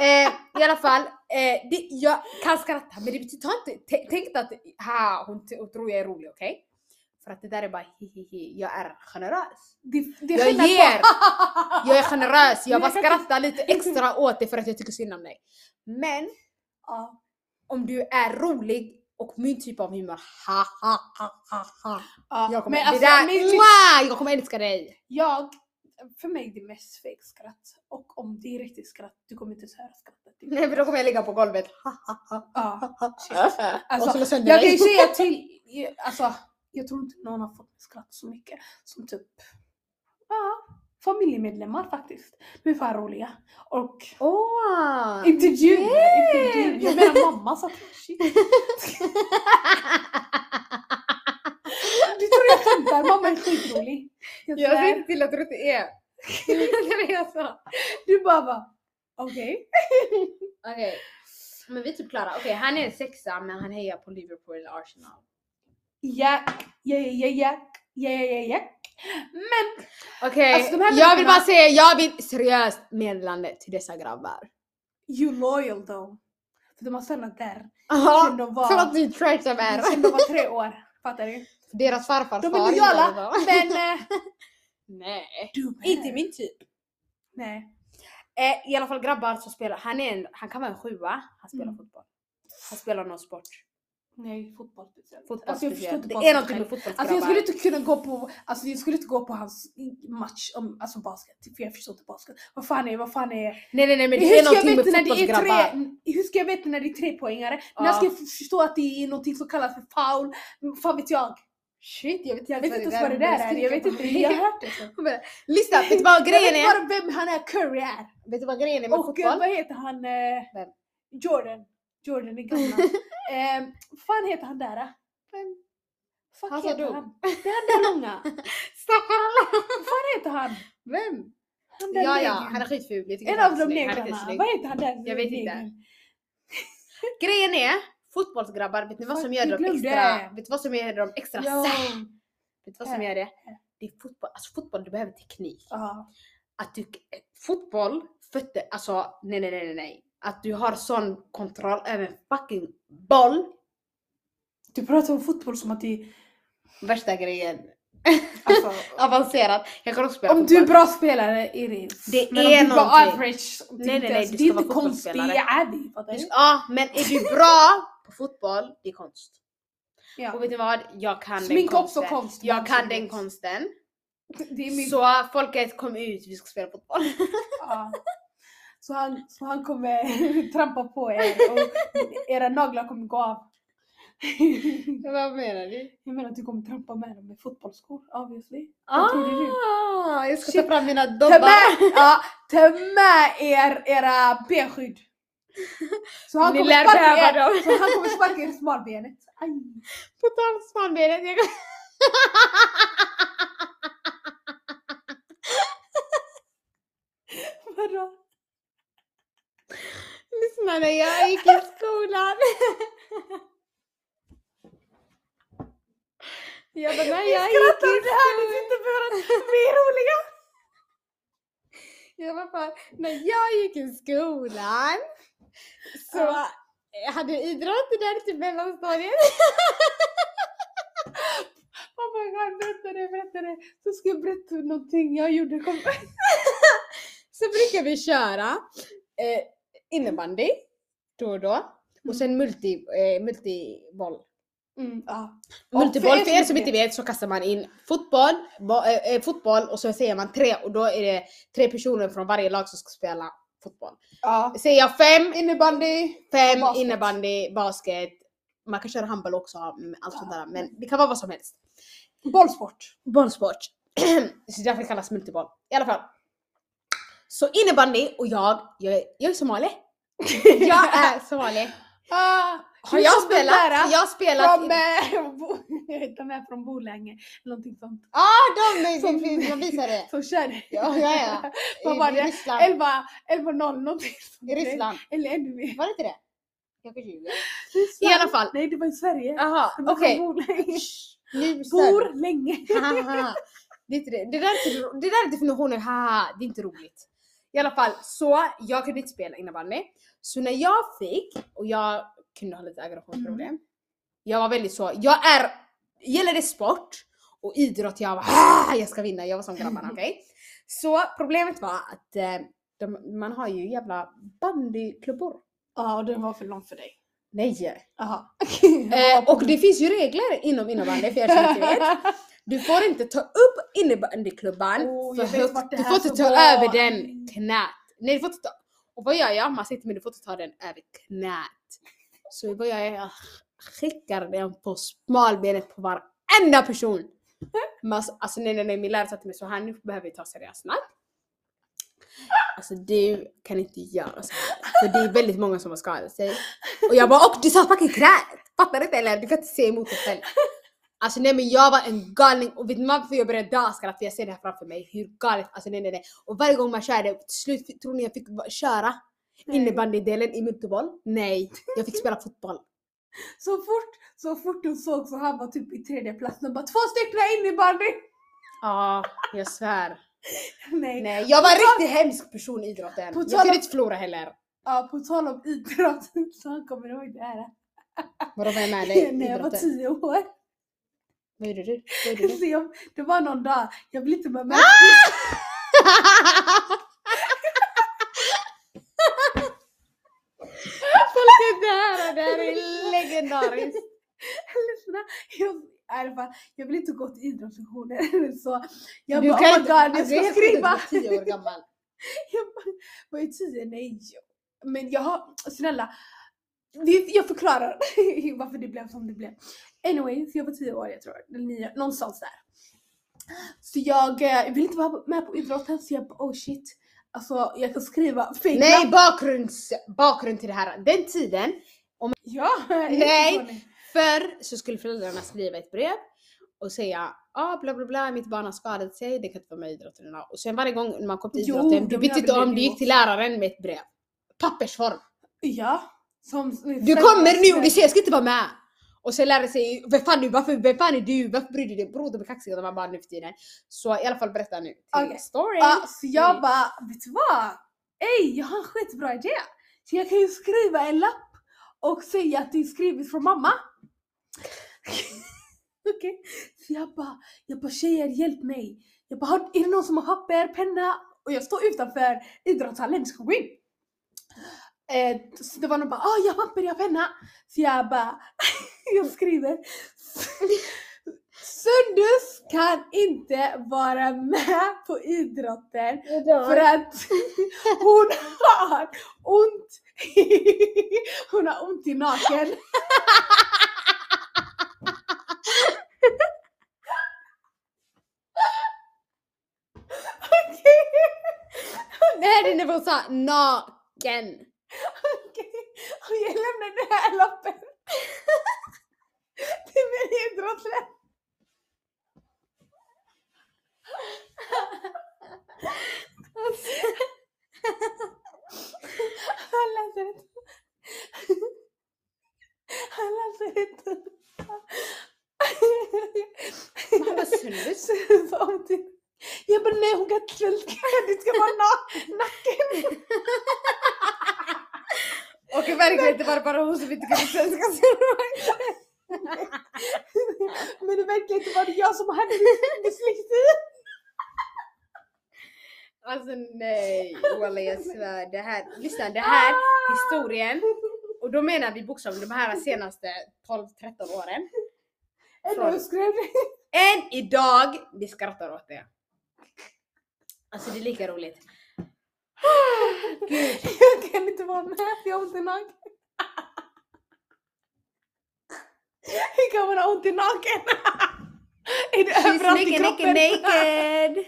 Eh, I alla fall, eh, det, jag kan skratta men det betyder ta inte, tä- tänk inte att ha, hon, t- hon tror jag är rolig, okej? För att det där är bara hihihi, jag är generös. Det, det är Jag skillnad på- ger! Jag är generös, Men jag bara jag kan inte- skrattar lite extra åt dig för att jag tycker synd om dig. Men Ja. om du är rolig och min typ av humor, ha ha ha ha ha. Ja. Jag kommer, men alltså, det där, Mm. min- mwah, jag kommer älska dig. jag, för mig är det mest fejkskratt. Och om det är riktigt skratt, du kommer inte ens höra skrattet. Nej men då kommer jag ligga på golvet. Ja. och slå sönder Jag kan ju dig. säga till, alltså jag tror inte någon har fått skratt så mycket som typ, ja, familjemedlemmar faktiskt. De är fan roliga. Och Åh! Inte du, inte du. Jag menar mamma sa shit. Du tror jag skämtar, mamma är skitrolig. Jag Jag svär. säger till att du inte är. Det var det jag sa. Du bara, bara okej. Okej. Men vi är typ klara. Okej, han är en sexa men han hejar på Liverpool och Arsenal. Jack, ja, ja, ja, jack, ja, ja, ja, jack. Men Okej, Alltså, de här jag vill människorna- bara säga jag vill seriöst meddelande till dessa grabbar. you loyal though. För de har stannat där Ja, sen de För att var, ni trash de är. sen de var tre år. Fattar du? Deras farfars De är far gjorde lojala. det då. Men eh, Nej. du med. Inte min typ. Nej. Eh, I alla fall grabbar som spelar, han, är en, han kan vara en sjua, han spelar Mm. fotboll. Han spelar någon sport. Nej, fotboll speciellt. Fotboll Alltså jag förstår speciellt. inte Det bara är någonting med Alltså jag fotbollsgrabbar. skulle inte kunna gå på, alltså jag skulle inte gå på hans match om alltså basket, för jag förstår inte basket. Vad fan är, vad fan är... Nej nej nej men hur det är ska jag någonting med veta när det är fotbollsgrabbar. tre, hur ska jag veta när det är trepoängare? Ja. När ska jag förstå att det är någonting som kallas för foul? Fan vet jag? Shit jag vet Jag vet inte ens vad det där är, jag vet inte, jag har hört det. så. Lyssna, vet du vad Jag grejen vet är? bara vem han är, Curry är. Vet du vad grejen är med Och eh, fotboll? vad heter han? eh, Vem? Jordan. Jordan är gammal. eh, vad fan heter han där? eh? Vem? Fuck Alltså, Han han som heter dog. han? Det är han där långa. Stackare Vad heter han? Vem? Han där Ja, ja, han är negern. skitful. Jag tycker En inte han av är de snygg, han är inte negrarna. snygg. Vad heter han där? Jag vet inte. negern? Grejen är, fotbollsgrabbar, vet ni vad Fuck, som gör jag dem glömde. extra? Vet du vad som gör dem extra Ja. sär? Vet du vad som Äh. gör det? Det är fotboll. Alltså fotboll, du behöver teknik. Ja. Att du, eh, fotboll, fötter, alltså nej, nej, nej, nej, nej. Att du har sån kontroll över en fucking boll. Du pratar om fotboll som att det Värsta grejen. alltså, Avancerad. Jag kan också spela Om fotboll. du är bra spelare är det Det Men är om du bara någonting. average. och Nej, nej, inte nej, ens- du Det ska är inte vara konst, det fotbollsspelare. är ärlig. fattar Du du? ska- Ja, men är du bra på fotboll, det är konst. Och Ja. vet ni vad? Jag kan Smink den också konsten. konst. Jag man kan som den vet. konsten. Det är min... Så folket kom ut, vi ska spela fotboll. ja. Så han, så han kommer trampa på er och era naglar kommer gå av. Vad menar du? Jag menar att du kommer trampa med dem med fotbollsskor obviously. Ah, Vad tror du? jag ska Shit. ta fram mina Ta dobbar. med, ja, ta med er era benskydd. Så han Ni kommer lär sparka er, behöva dem. så han kommer sparka er i smalbenet. Aj. På tal om smalbenet. Jag... kom- Vadå? Lyssna när jag gick i skolan. Jag bara, när jag gick i Skrattar du här? Du inte för att vi är roliga. Jag var bara, när jag gick i skolan så Ja. jag hade idrott där till mellanstadiet. Oh my god, berätta det, berätta det. Så ska jag berätta någonting jag gjorde. Kom. Så brukar vi köra eh, innebandy då och då. Mm. Och sen multi, eh, multiboll. Mm, ja. Och Multiboll, för er som inte inte vet så kastar man in fotboll, bo, eh, eh, fotboll och så säger man tre och då är det tre personer från varje lag som ska spela fotboll. Ja. Säger jag fem, Innebandy. Fem, Basket. innebandy, basket. Man kan köra handboll också, mm, allt sånt Ja. där. Men det kan vara vad som helst. Bollsport. Bollsport. så därför det kallas multiboll. I alla fall. Så innebandy och jag, jag, jag är somali. jag är somali. Ah, Har jag spelat? Har jag spelat? Från, eh, Bo- de är från Borlänge eller någonting sånt. Ja, Ah, de är vi- vi- jag visar det. Som kör Ja, ja, ja. Vad I- var i det? Ryssland. 11, 11 0 någonting sånt. I Ryssland. Eller ännu mer. Var det inte det? Jag kanske ljuger. I Ryssland. alla fall. Nej, det var i Sverige. Jaha, De var från okej. Borlänge. Nu stör Bor länge. Haha. det, är inte det. Det, där är inte, ro- det där är definitionen, haha, det är inte roligt. I alla fall, så jag kunde inte spela innebandy. Så när jag fick, och jag kunde ha lite aggressionsproblem. Jag var väldigt så, jag är, gäller det sport och idrott, jag var "Ah, jag ska vinna, jag var som grabbarna, okej? Så problemet var att eh, de, man har ju jävla bandyklubbor. Ja, och den var för lång för dig. Nej! Jaha. Eh, och det finns ju regler inom innebandy för er som inte vet. Du får inte ta upp innebandyklubban Åh, för jag vet vart högt. det Du här får inte ska ta vara. över den knät. Nej, du får inte ta... Och vad gör jag? Man sitter men du får inte ta den över knät. Så vad gör jag? Jag skickar den på smalbenet på varenda person. Man, alltså nej, nej, nej, min lärare sa till mig så här, nu behöver vi ta seriöst snack. Alltså du kan inte göra så här. För det är väldigt många som har skadat sig. Och jag bara, och du sa fucking knät! Fattar du inte eller? Du kan inte se emot dig själv. Alltså nej men jag var en galning och vet ni varför jag började daska? För jag ser det här framför mig, hur galet, alltså nej nej nej. Och varje gång man körde, till slut fick- tror ni jag fick va- köra innebandydelen i multiboll? Nej, jag fick spela fotboll. Så fort, så fort hon såg så han var typ i tredje plats. De bara två stycken innebandy! Ja, jag svär. Nej. Nej, jag var en riktigt hemsk person i idrotten. På Jag tal om- kunde inte förlora heller. Ja, på tal om idrott så han kommer ihåg det här. Vadå var jag med dig i när jag var idrotten? tio år. Vad gjorde du? Vad gjorde du? Så jag, det var någon dag, jag blev inte med mig. Ah! Folket, det här, det här är legendariskt. Lyssna, jag, i alla fall, jag vill inte gå till idrottslektioner. Så jag Du bara kan oh my inte- god, jag alltså, ska är helt skriva. sjukt att du var 10 år gammal. Jag bara, var ju tio, nej. Men jag har, snälla. det- Jag förklarar varför det blev som det blev. Anyway, så jag var tio år jag tror, eller nio, någonstans där. Så jag, eh, jag vill inte vara med på idrotten så jag bara oh shit. Alltså jag kan skriva fake Nej, namn. bakgrunds, bakgrund till det här. Den tiden, Ja, jag är Nej. jättevanlig. förr så skulle föräldrarna skriva ett brev och säga ah, bla bla bla, mitt barn har skadat sig, det kan inte vara med i idrotten idag. Och sen varje gång man kom till Jo, idrotten, de du gör visste inte väl det om du nu gick till läraren med ett brev. Pappersform. Ja. Som, Du kommer nu, du ser, jag ska inte vara med! Och sen lärde sig, vem fan, du, varför, vem fan är du? Varför bryr du dig? Bror, de är kaxiga de här barnen nu för tiden. Så i alla fall berätta nu. till Okej. Ah, Story! Ja, så Alltså, jag bara, vet du vad? Ey, jag har en skitbra idé! Så jag kan ju skriva en lapp och säga att det är skrivet från mamma. Okej. Så jag bara, jag bara tjejer hjälp mig. Jag bara, har- är det någon som har papper, penna? Och jag står utanför idrottshallen, ska gå in. Eh, så det var någon bara, ah jag har papper, jag har penna. Så jag bara, jag skriver. Sundus kan inte vara med på idrotten för att hon har ont i, hon har ont i nakeln. Nej, det är när hon sa naken. Okej, och jag lämnar den här lappen till min idrottslärare. Han läser inte. Han läser inte. Man bara, Sundus? Så om till- Jag bara nej hon kan inte svälta, det ska vara na- nacken. Okej, verkligen inte bara, bara hon som inte kan svenska. Men det verkar inte vara jag som hade dyslexi. Alltså nej, walla jag svär. Det här, lyssna, det här Ah! historien, och då menar vi bokstavligen de här senaste 12-13 åren. Eller Från- hur skrev du? Än idag, vi skrattar åt det. Alltså det är lika roligt. Gud. Jag kan inte vara med för jag har ont i nageln. Hur kan man ha ont i nageln? Är det överallt i naked, kroppen? naked, naked!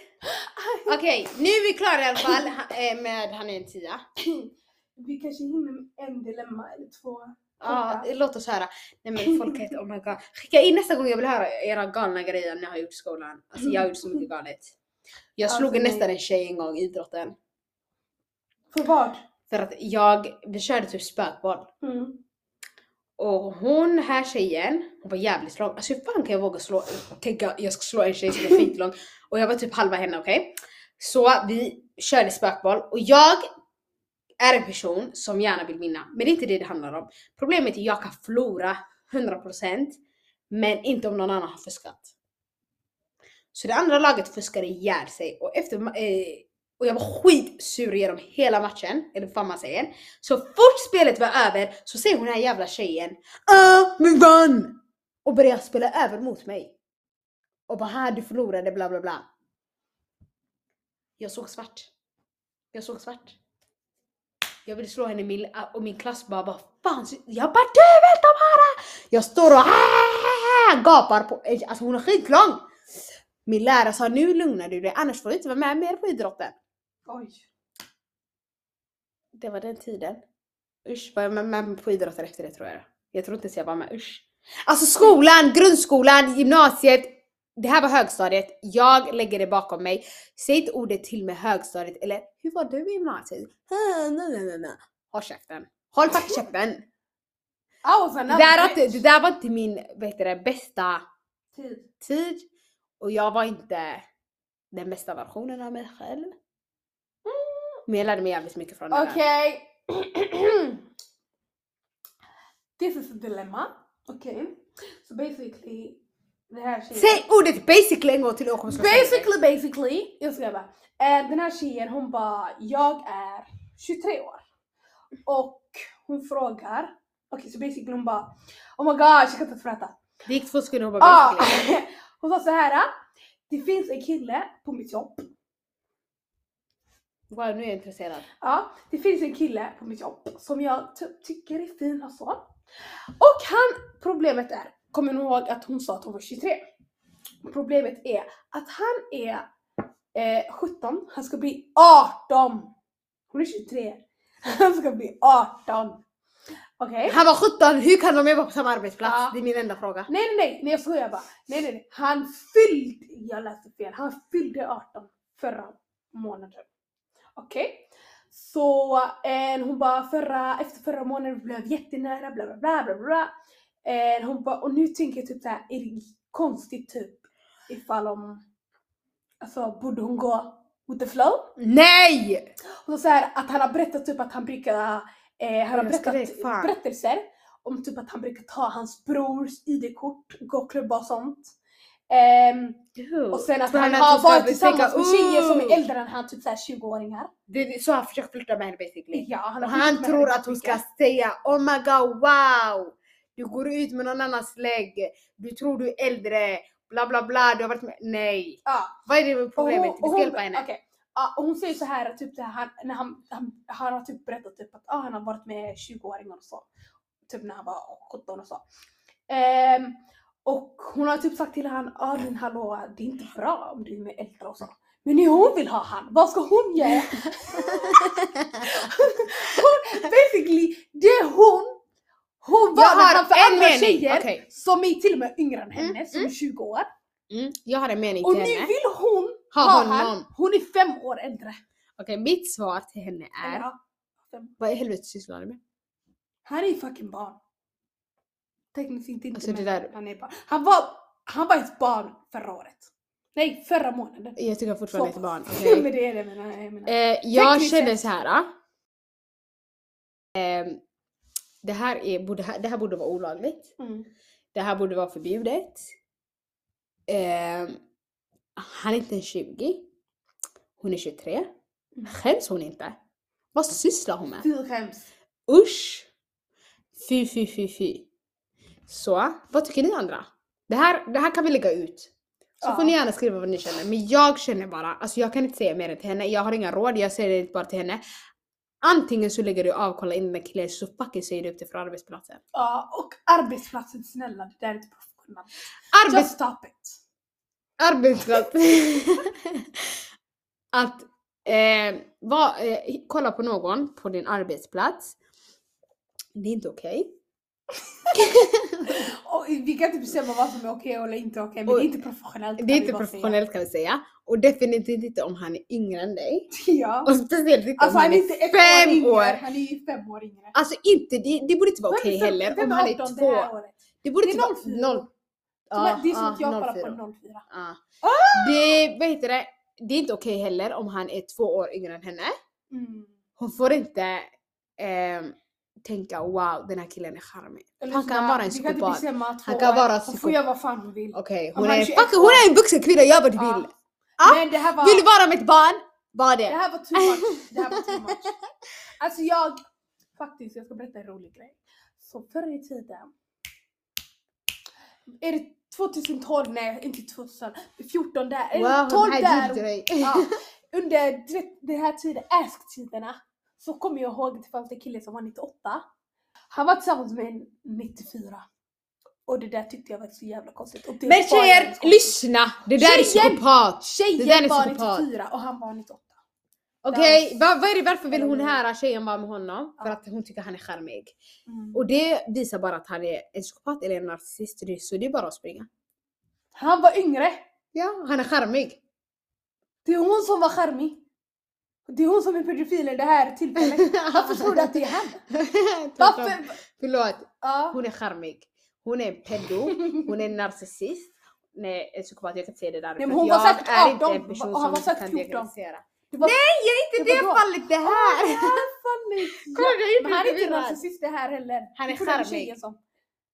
Okej, nu är vi klara i alla fall ha- eh, med Han är en tia. Vi kanske hinner med en dilemma eller två. Ja, låt oss höra. Nej men folk heter oh my god. Skicka in nästa gång jag vill höra era galna grejer ni har gjort i skolan. Alltså jag har gjort så mycket galet. Jag slog Alltså, nej. nästan en tjej en gång i idrotten. För vad? För att jag, vi körde typ spökboll. Mm. Och hon här tjejen, hon var jävligt lång. Alltså hur fan kan jag våga slå, tänka jag ska slå en tjej som är fint lång. Och jag var typ halva henne okej. Så vi körde spökboll och jag är en person som gärna vill vinna. Men det är inte det det handlar om. Problemet är att jag kan förlora 100% men inte om någon annan har fuskat. Så det andra laget fuskade ihjäl sig och efter ma- eh, och jag var skitsur genom hela matchen, eller vad fan man säger. Så fort spelet var över så säger hon den här jävla tjejen Ah, men vann! Och börjar spela över mot mig. Och bara här du förlorade bla bla bla. Jag såg svart. Jag såg svart. Jag ville slå henne i min, ah, och min klass bara vad fan, jag bara du vet de här! Jag står och "Ah!" gapar på, alltså hon är skitlång. Min lärare sa nu lugnar du dig annars får du inte vara med mer på idrotten. Oj. Det var den tiden. Usch, var jag med, med på idrotten efter det tror jag. Jag tror inte ens jag var med, usch. Alltså skolan, grundskolan, gymnasiet. Det här var högstadiet. Jag lägger det bakom mig. Säg inte ordet till mig högstadiet eller hur var du i gymnasiet? Ah, na, na, na, na. Håll käften. Håll faktiskt käften. I was Det another där, var bitch. inte- det där var inte min vad heter det, bästa Tid. tid och jag var inte den bästa versionen av mig själv. Men jag lärde mig jävligt mycket från det där. Okej. This is a dilemma. Okej. So basically, den här tjejen... Säg ordet basically en gång till och jag kommer slå sönder Basically, dig. basically. Jag ska bara. Eh, Den här tjejen hon bara, jag är 23 år. Och hon frågar, okej så basically hon bara, oh my gosh jag kan inte prata. Det gick två sekunder och hon bara Ah, basically. hon sa så här. "Ah, det finns en kille på mitt jobb. Wow, nu är jag intresserad. Ja, Ah, det finns en kille på mitt jobb som jag typ tycker är fin och så. Och han, problemet är, kommer ni ihåg att hon sa att hon var 23? Problemet är att han är eh, 17, han ska bli 18. Hon är 23. Han ska bli 18. Okej? Han var 17, hur kan de jobba på samma arbetsplats? Ja. Det är min enda fråga. Nej, nej, nej, nej jag skojar bara. Nej, nej, nej. Han fyllde, jag läste fel, han fyllde 18 förra månaden. Okej? Så eh, hon bara förra, efter förra månaden blev jättenära, bla bla bla bla bla. Eh, hon bara, och nu tänker jag typ såhär, är det konstigt typ ifall om, alltså borde hon gå with the flow? Nej! Och så här, att han har berättat typ att han brukar, eh, han har Jag skrek berättat fan. berättelser om typ att han brukar ta hans brors ID-kort, gå och klubba och sånt. Ehm, och sen att Tror han att har hon ska varit bestäcka- tillsammans med tjejer som Ooh! är äldre än han, typ såhär 20-åringar. Det är så han försöker flirta med henne basically. Ja, han, har Och skickat han med tror henne att hon ska mycket. säga Oh my god wow! Du går ut med någon annans lägg, du tror du är äldre, bla bla bla, du har varit med... Nej! Ja. Vad är det med Och problemet? Vi och ska hjälpa henne. okej. Ja, och hon säger så här, typ det här när han, han, han har typ berättat typ att ah, han har varit med 20-åringar och så. Typ när han var 17 och så. Ehm, och hon har typ sagt till honom, ah, men hallå det är inte bra om du är med äldre och så. Men nu hon vill ha han, vad ska hon göra? hon, basically, det är hon. Hon Jag var när har han för en andra mening, tjejer okej. som är till och med yngre än henne, Mm, som är 20 år. Mm, jag har en mening Och till nu henne. vill hon Ha honom. hon är fem år äldre. Okej, mitt svar till henne är Ja. Vad i helvete sysslar du med? Han är ju fucking barn. Tekniskt inte inte Alltså, det men där- han är barn. Han var, han var ett barn förra året. Nej, förra månaden. Jag tycker Så fortfarande att pass. jag är ett barn. okej? men det är det jag menar. Jag menar. Eh, jag Tekniskt känner sett. så här. Eh, det, här är, borde, det här borde vara olagligt. Mm. Det här borde vara förbjudet. Eh, han är inte ens 20. Hon är 23. Mm. Skäms hon inte? Vad sysslar hon med? Fy skäms. Usch! Fy, fy, fy, fy. Så, vad tycker ni andra? Det här, det här kan vi lägga ut. Så Ja. får ni gärna skriva vad ni känner. Men jag känner bara, alltså jag kan inte säga mer än till henne. Jag har inga råd, jag säger det bara till henne. Antingen så lägger du av, kollar in med killen, så fucking säger du upp det från arbetsplatsen. Ja, och arbetsplatsen snälla, det där är inte professionellt. Just Arbets... stop it. Arbetsplats! att eh, va, eh, kolla på någon på din arbetsplats. Det är inte okej. Och vi kan inte bestämma vad som är okej eller inte okej, men Och- det är inte professionellt. Det kan är vi inte bara professionellt kan vi säga. Och definitivt inte om han är yngre än dig. Säga. Ja. Och speciellt inte Alltså om han är inte ett år fem yngre. år. Han är ju fem år yngre. Alltså inte, det, det borde inte vara okej Vem är- heller om vem han är 18 det två. här året? Det borde Det är inte vara 04. noll. Men det är som att jag kollar 04. på Ah! 04. Ja. Det, vad heter det? Det är inte okej heller om han är två år yngre än henne. Mm. Hon får inte ehm, tänka wow den här killen är charmig. Eller Han så kan där, vara en vi kan inte psykopat. bestämma Han två kan år. vara Hon får psykopat. göra vad fan hon vill. Okej, Om hon, han är är 21 fucking- hon är en vuxen kvinna, gör vad du Ja. vill. Ja. Men det här var, Vill du vara mitt barn? Var det det. här var too much. Det här var too much. Alltså jag, faktiskt jag ska berätta en rolig grej. Så förr i tiden, är det 2012, nej inte 2014 där, är det 12 där dig. Ja, under du vet, den här tiden, ask-tiderna, så kommer jag ihåg att det fanns en kille som var 98. Han var tillsammans med en 94. Och det där tyckte jag var så jävla konstigt. Och det Men var tjejer, jävligt konstigt. lyssna! Det där är Tjejer! psykopat. Det där är Tjejen var psykopat. 94 och han var 98. Okej, Dans. va- vad är det varför vill hon Mm. här tjejen vara med honom? För Ja. att hon tycker han är charmig. Mm. Och det visar bara att han är en psykopat eller en narcissist. så det- Så det är bara att springa. Han var yngre. Ja, han är charmig. Det är hon som var charmig. Det är hon som är pedofilen det här tillfället. Varför tror du att det är han? Varför? Varför? Förlåt, Ja. hon är charmig. Hon är en pedo, hon är en narcissist. Nej, en psykopat, jag kan inte säga det där. men för hon jag var säkert är inte 18, en person och han var som säkert kan 14. diagnosera. Det var... Nej! Inte Det det var bra. fallet, det här! Kolla, Kolla, jag Typ, är men han är inte inte förvirrad. narcissist det här heller. Han är Det får den charmig. tjejen som-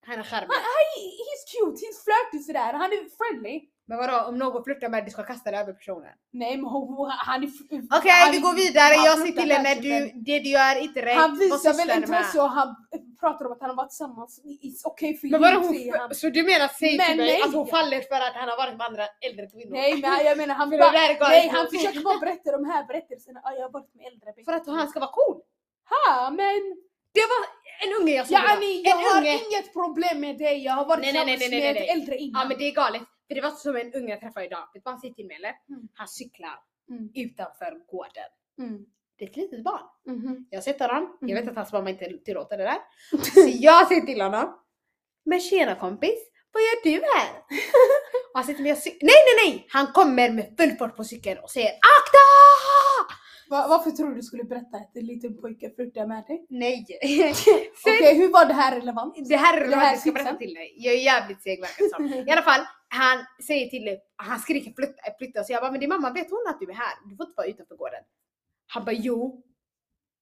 Han är charmig. He- He's cute, he's flirty sådär, han är friendly. Men vadå, om någon flörtar med dig, du ska kasta dig över personen? Nej men hon, han är... eh, Okej han vi är- går vidare, han jag flyttar säger till henne, där, du, det du gör är inte rätt. Han Vad visar sysslar väl du med? intresse och han eh, pratar om att han har varit tillsammans. It's okay for Men you, vadå säger han. hon, så du menar säg Men till mig nej. att hon faller för att han har varit med andra äldre kvinnor? Nej men jag menar han För det bara, där är galet. nej han försöker bara berätta de här berättelserna. Ja, jag har varit med äldre. För att han ska vara cool. Ha men! Det var en unge jag såg idag. Yani jag En har unge. inget problem med dig, jag har varit Nej, nej, nej, tillsammans nej, nej, med nej. äldre innan. Ja men det är galet. För det var som en Mm. unge jag träffade idag. Vet du vad han säger till mig eller? Mm. Han cyklar Mm. utanför gården. Mm. det är ett litet barn. Mhm. Jag sätter honom, jag vet Mhm. att hans mamma inte tillåter det där. Så jag säger till honom. Men tjena kompis, vad gör du här? Och han säger till mig, jag cy- nej nej nej! Han kommer med full fart på cykeln och säger akta! Va- varför tror du du skulle berätta att en liten pojke flörtade med dig? Nej! Okej, hur var det här relevant? det här är Det det här jag ska berätta tipsen. till dig. Jag är jävligt seg verkar det som. I alla fall, han säger till dig, han skriker flytta, flytta. Så jag bara, men din mamma vet hon att du är här? Du får inte vara utanför gården. Han bara, jo.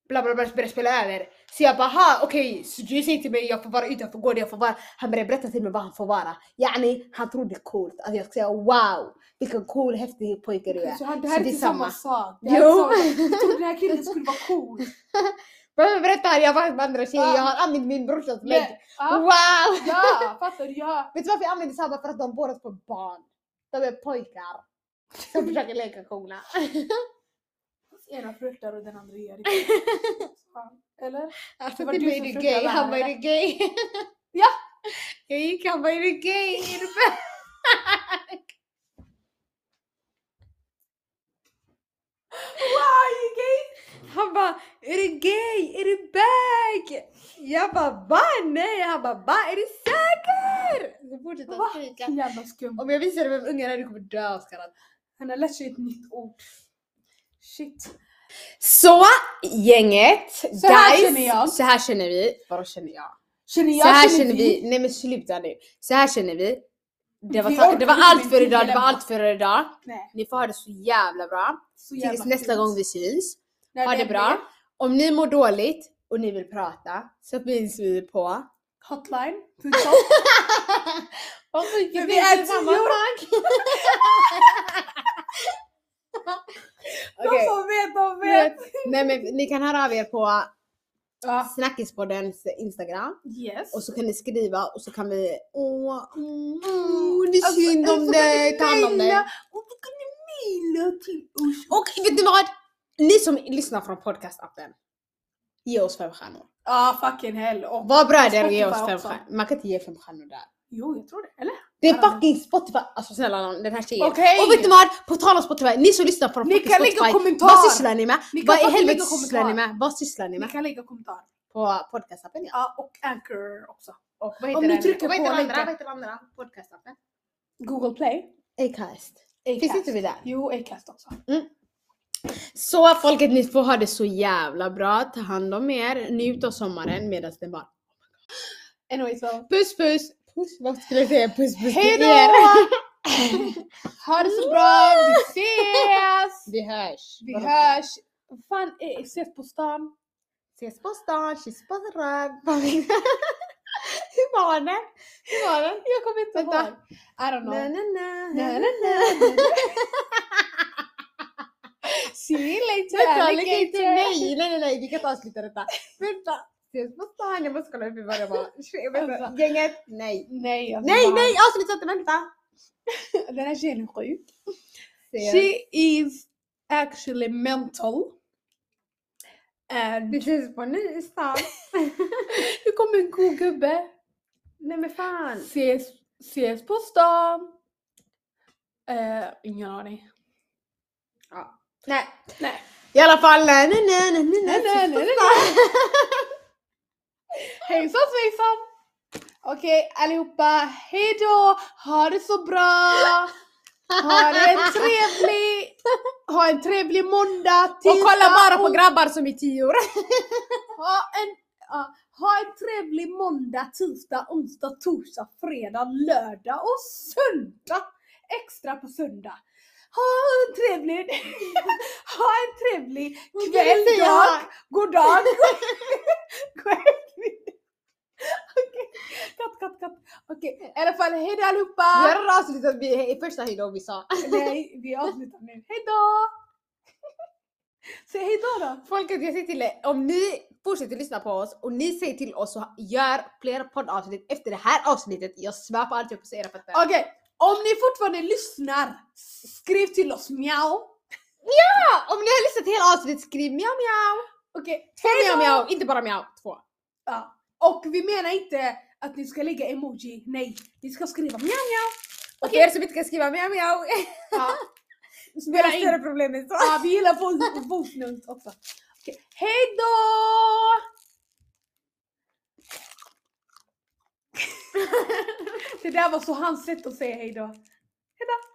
Bla bla bla, börjar spela över. Så jag bara, "Ha, okej, så du säger till mig jag får vara utanför gården, jag får vara. Han börjar berätta till mig vad han får vara. Yani, han tror det är coolt. Att jag ska säga wow, vilken cool, häftig pojke du är. Så här, det Så här är det är inte samma samma. sak. Det Jo. här är samma sak. Jag trodde den här killen skulle vara cool. Men berätta, jag har varit med andra tjejer, Ja. jag har använt min brorsas Men, lägg. ja, Wow! ja, fattar du? Ja. Vet du varför jag använder samma? För att de båda två är barn. De är pojkar. Som försöker leka coola. Ena flörtar och den andra gör inte. Fan. Eller? Alltså Det var till du mig är som det försökte gay, lära han bara är henne. det gay. Ja. Jag gick, han bara är det gay, är det bäst? Wow, är det gay? Han bara, är det gay? Är det bög? Jag bara, va? Nej. Han bara, va? Är du säker? Så fortsätter Va? han skrika. Jävla skum. Om jag visar dig vem ungen är, du kommer dö av skratt. Han har lärt sig ett nytt ord. Shit. Så gänget, Så här guys, känner jag. Så här känner vi. Vadå känner jag? Känner så här jag, känner vi. Nej men sluta nu. Så här känner vi. Det var, Vi ta- orkar det var inte allt med för en idag, det var timme. allt för idag. Nej. Ni får ha det så jävla bra. Så Tills jävla nästa fint. gång vi syns. När Ha vi det är bra. med. Om ni mår dåligt och ni vill prata så finns vi på... Hotline. Punkt vi vi är är samma tio sak! De Okej. som vet, de vet. Nej, Nej men ni kan höra av er på Ja. Snackispoddens instagram. Yes. Och så kan ni skriva och så kan vi... Åh, mm, åh, det är synd om alltså, dig, ta hand om dig. mejla. Och så kan ni mejla till oss. Och vet ni vad? Ni som lyssnar från podcastappen, ge oss fem stjärnor. Ja, fucking hell. Och, Var bröder, ge oss Spotify fem också. stjärnor. Man kan inte ge fem stjärnor där. jo, jag tror det. Eller? Det är Alla. fucking Spotify! Alltså snälla nån, den här tjejen. Okej. Och vet ni vad? På tal om Spotify, ni som lyssnar på Ni fucking kan lägga Spotify, kommentar. vad sysslar ni med? Ni kan Vad i fucking helvete lägga sysslar ni kommentar. med? Vad sysslar ni Ni med? kan lägga kommentarer. På podcastappen ja. Ja, och Anchor också. Och vad Om heter ni den? trycker Och vad heter på den länken. andra? Vad heter den andra podcastappen? Google Play. Acast. Finns Acast. inte vi där? Jo, Acast också. Så folket, ni får ha det så jävla bra. Ta hand om er. Njut av sommaren medan den bara Anyway, so. Puss puss! Puss, vad skulle jag säga? Puss puss Hej då! ha det så bra. Vi ses! Vi hörs! Vi hörs. Vad Fan, eh, ses på stan. Ses på stan, kyss på röv! Hur var den? Hur var den? Jag kommer inte Vänta. ihåg. I don't Na, know. na, na, Na, na, na, na, na. See you later, Vänta, lägg inte! alligator. Nej, nej, nej, nej, vi kan inte avsluta detta. Vänta! Ses på stan, jag måste kolla upp i vad det var. Jag vet inte. Gänget, nej. Nej, alltså Nej, bara- nej, avsluta inte, vänta! Den här tjejen är sjuk. Ses. She is actually mental. And Vi ses på ny stan. nu kommer en god gubbe. Nej men fan! Ses, ses på stan. Eh, ingen aning. Ja. Nej. Nej. I alla fall, nej, nej, nej, nej, Nej, nej, nej, ses på nej, nej. Hejsan svejsan! Okej allihopa, hejdå! Ha det så bra! Ha det en trevlig... Ha en trevlig måndag, Och kolla bara på onsdag. grabbar som är tio år. Ha en, ja, ha en trevlig måndag, tisdag, onsdag, torsdag, fredag, lördag och söndag. Extra på söndag. Ha en trevlig, ha en trevlig kväll, Kväll, dag, dag. god dag. Kväll, middag. Okej, katt, katt, katt. Okej, i alla fall hejdå allihopa. Vi har avslutat vi- första hejdå vi sa. Nej, vi avslutar nu. Hejdå! Säg hejdå då. Folket, jag säger till er, om ni fortsätter lyssna på oss och ni säger till oss så gör fler poddavsnitt efter det här avsnittet. Jag svär på allt jag får säga för att Okej, om ni fortfarande lyssnar, skriv till oss mjau. Om ni har lyssnat hela avsnittet, skriv mjau mjau. Okej, Två hejdå! mjau mjau, inte bara mjau. Två. Ja. Och vi menar inte att ni ska lägga emoji, nej. Ni ska skriva mjau mjau. Och för er som inte kan skriva mjau mjau. Ja. Det är Spela in. större problemet. så. Ja, vi gillar våld- våldsnumret också. Okej, Hej då! Det där var så hans sätt att säga hej då. Hej då!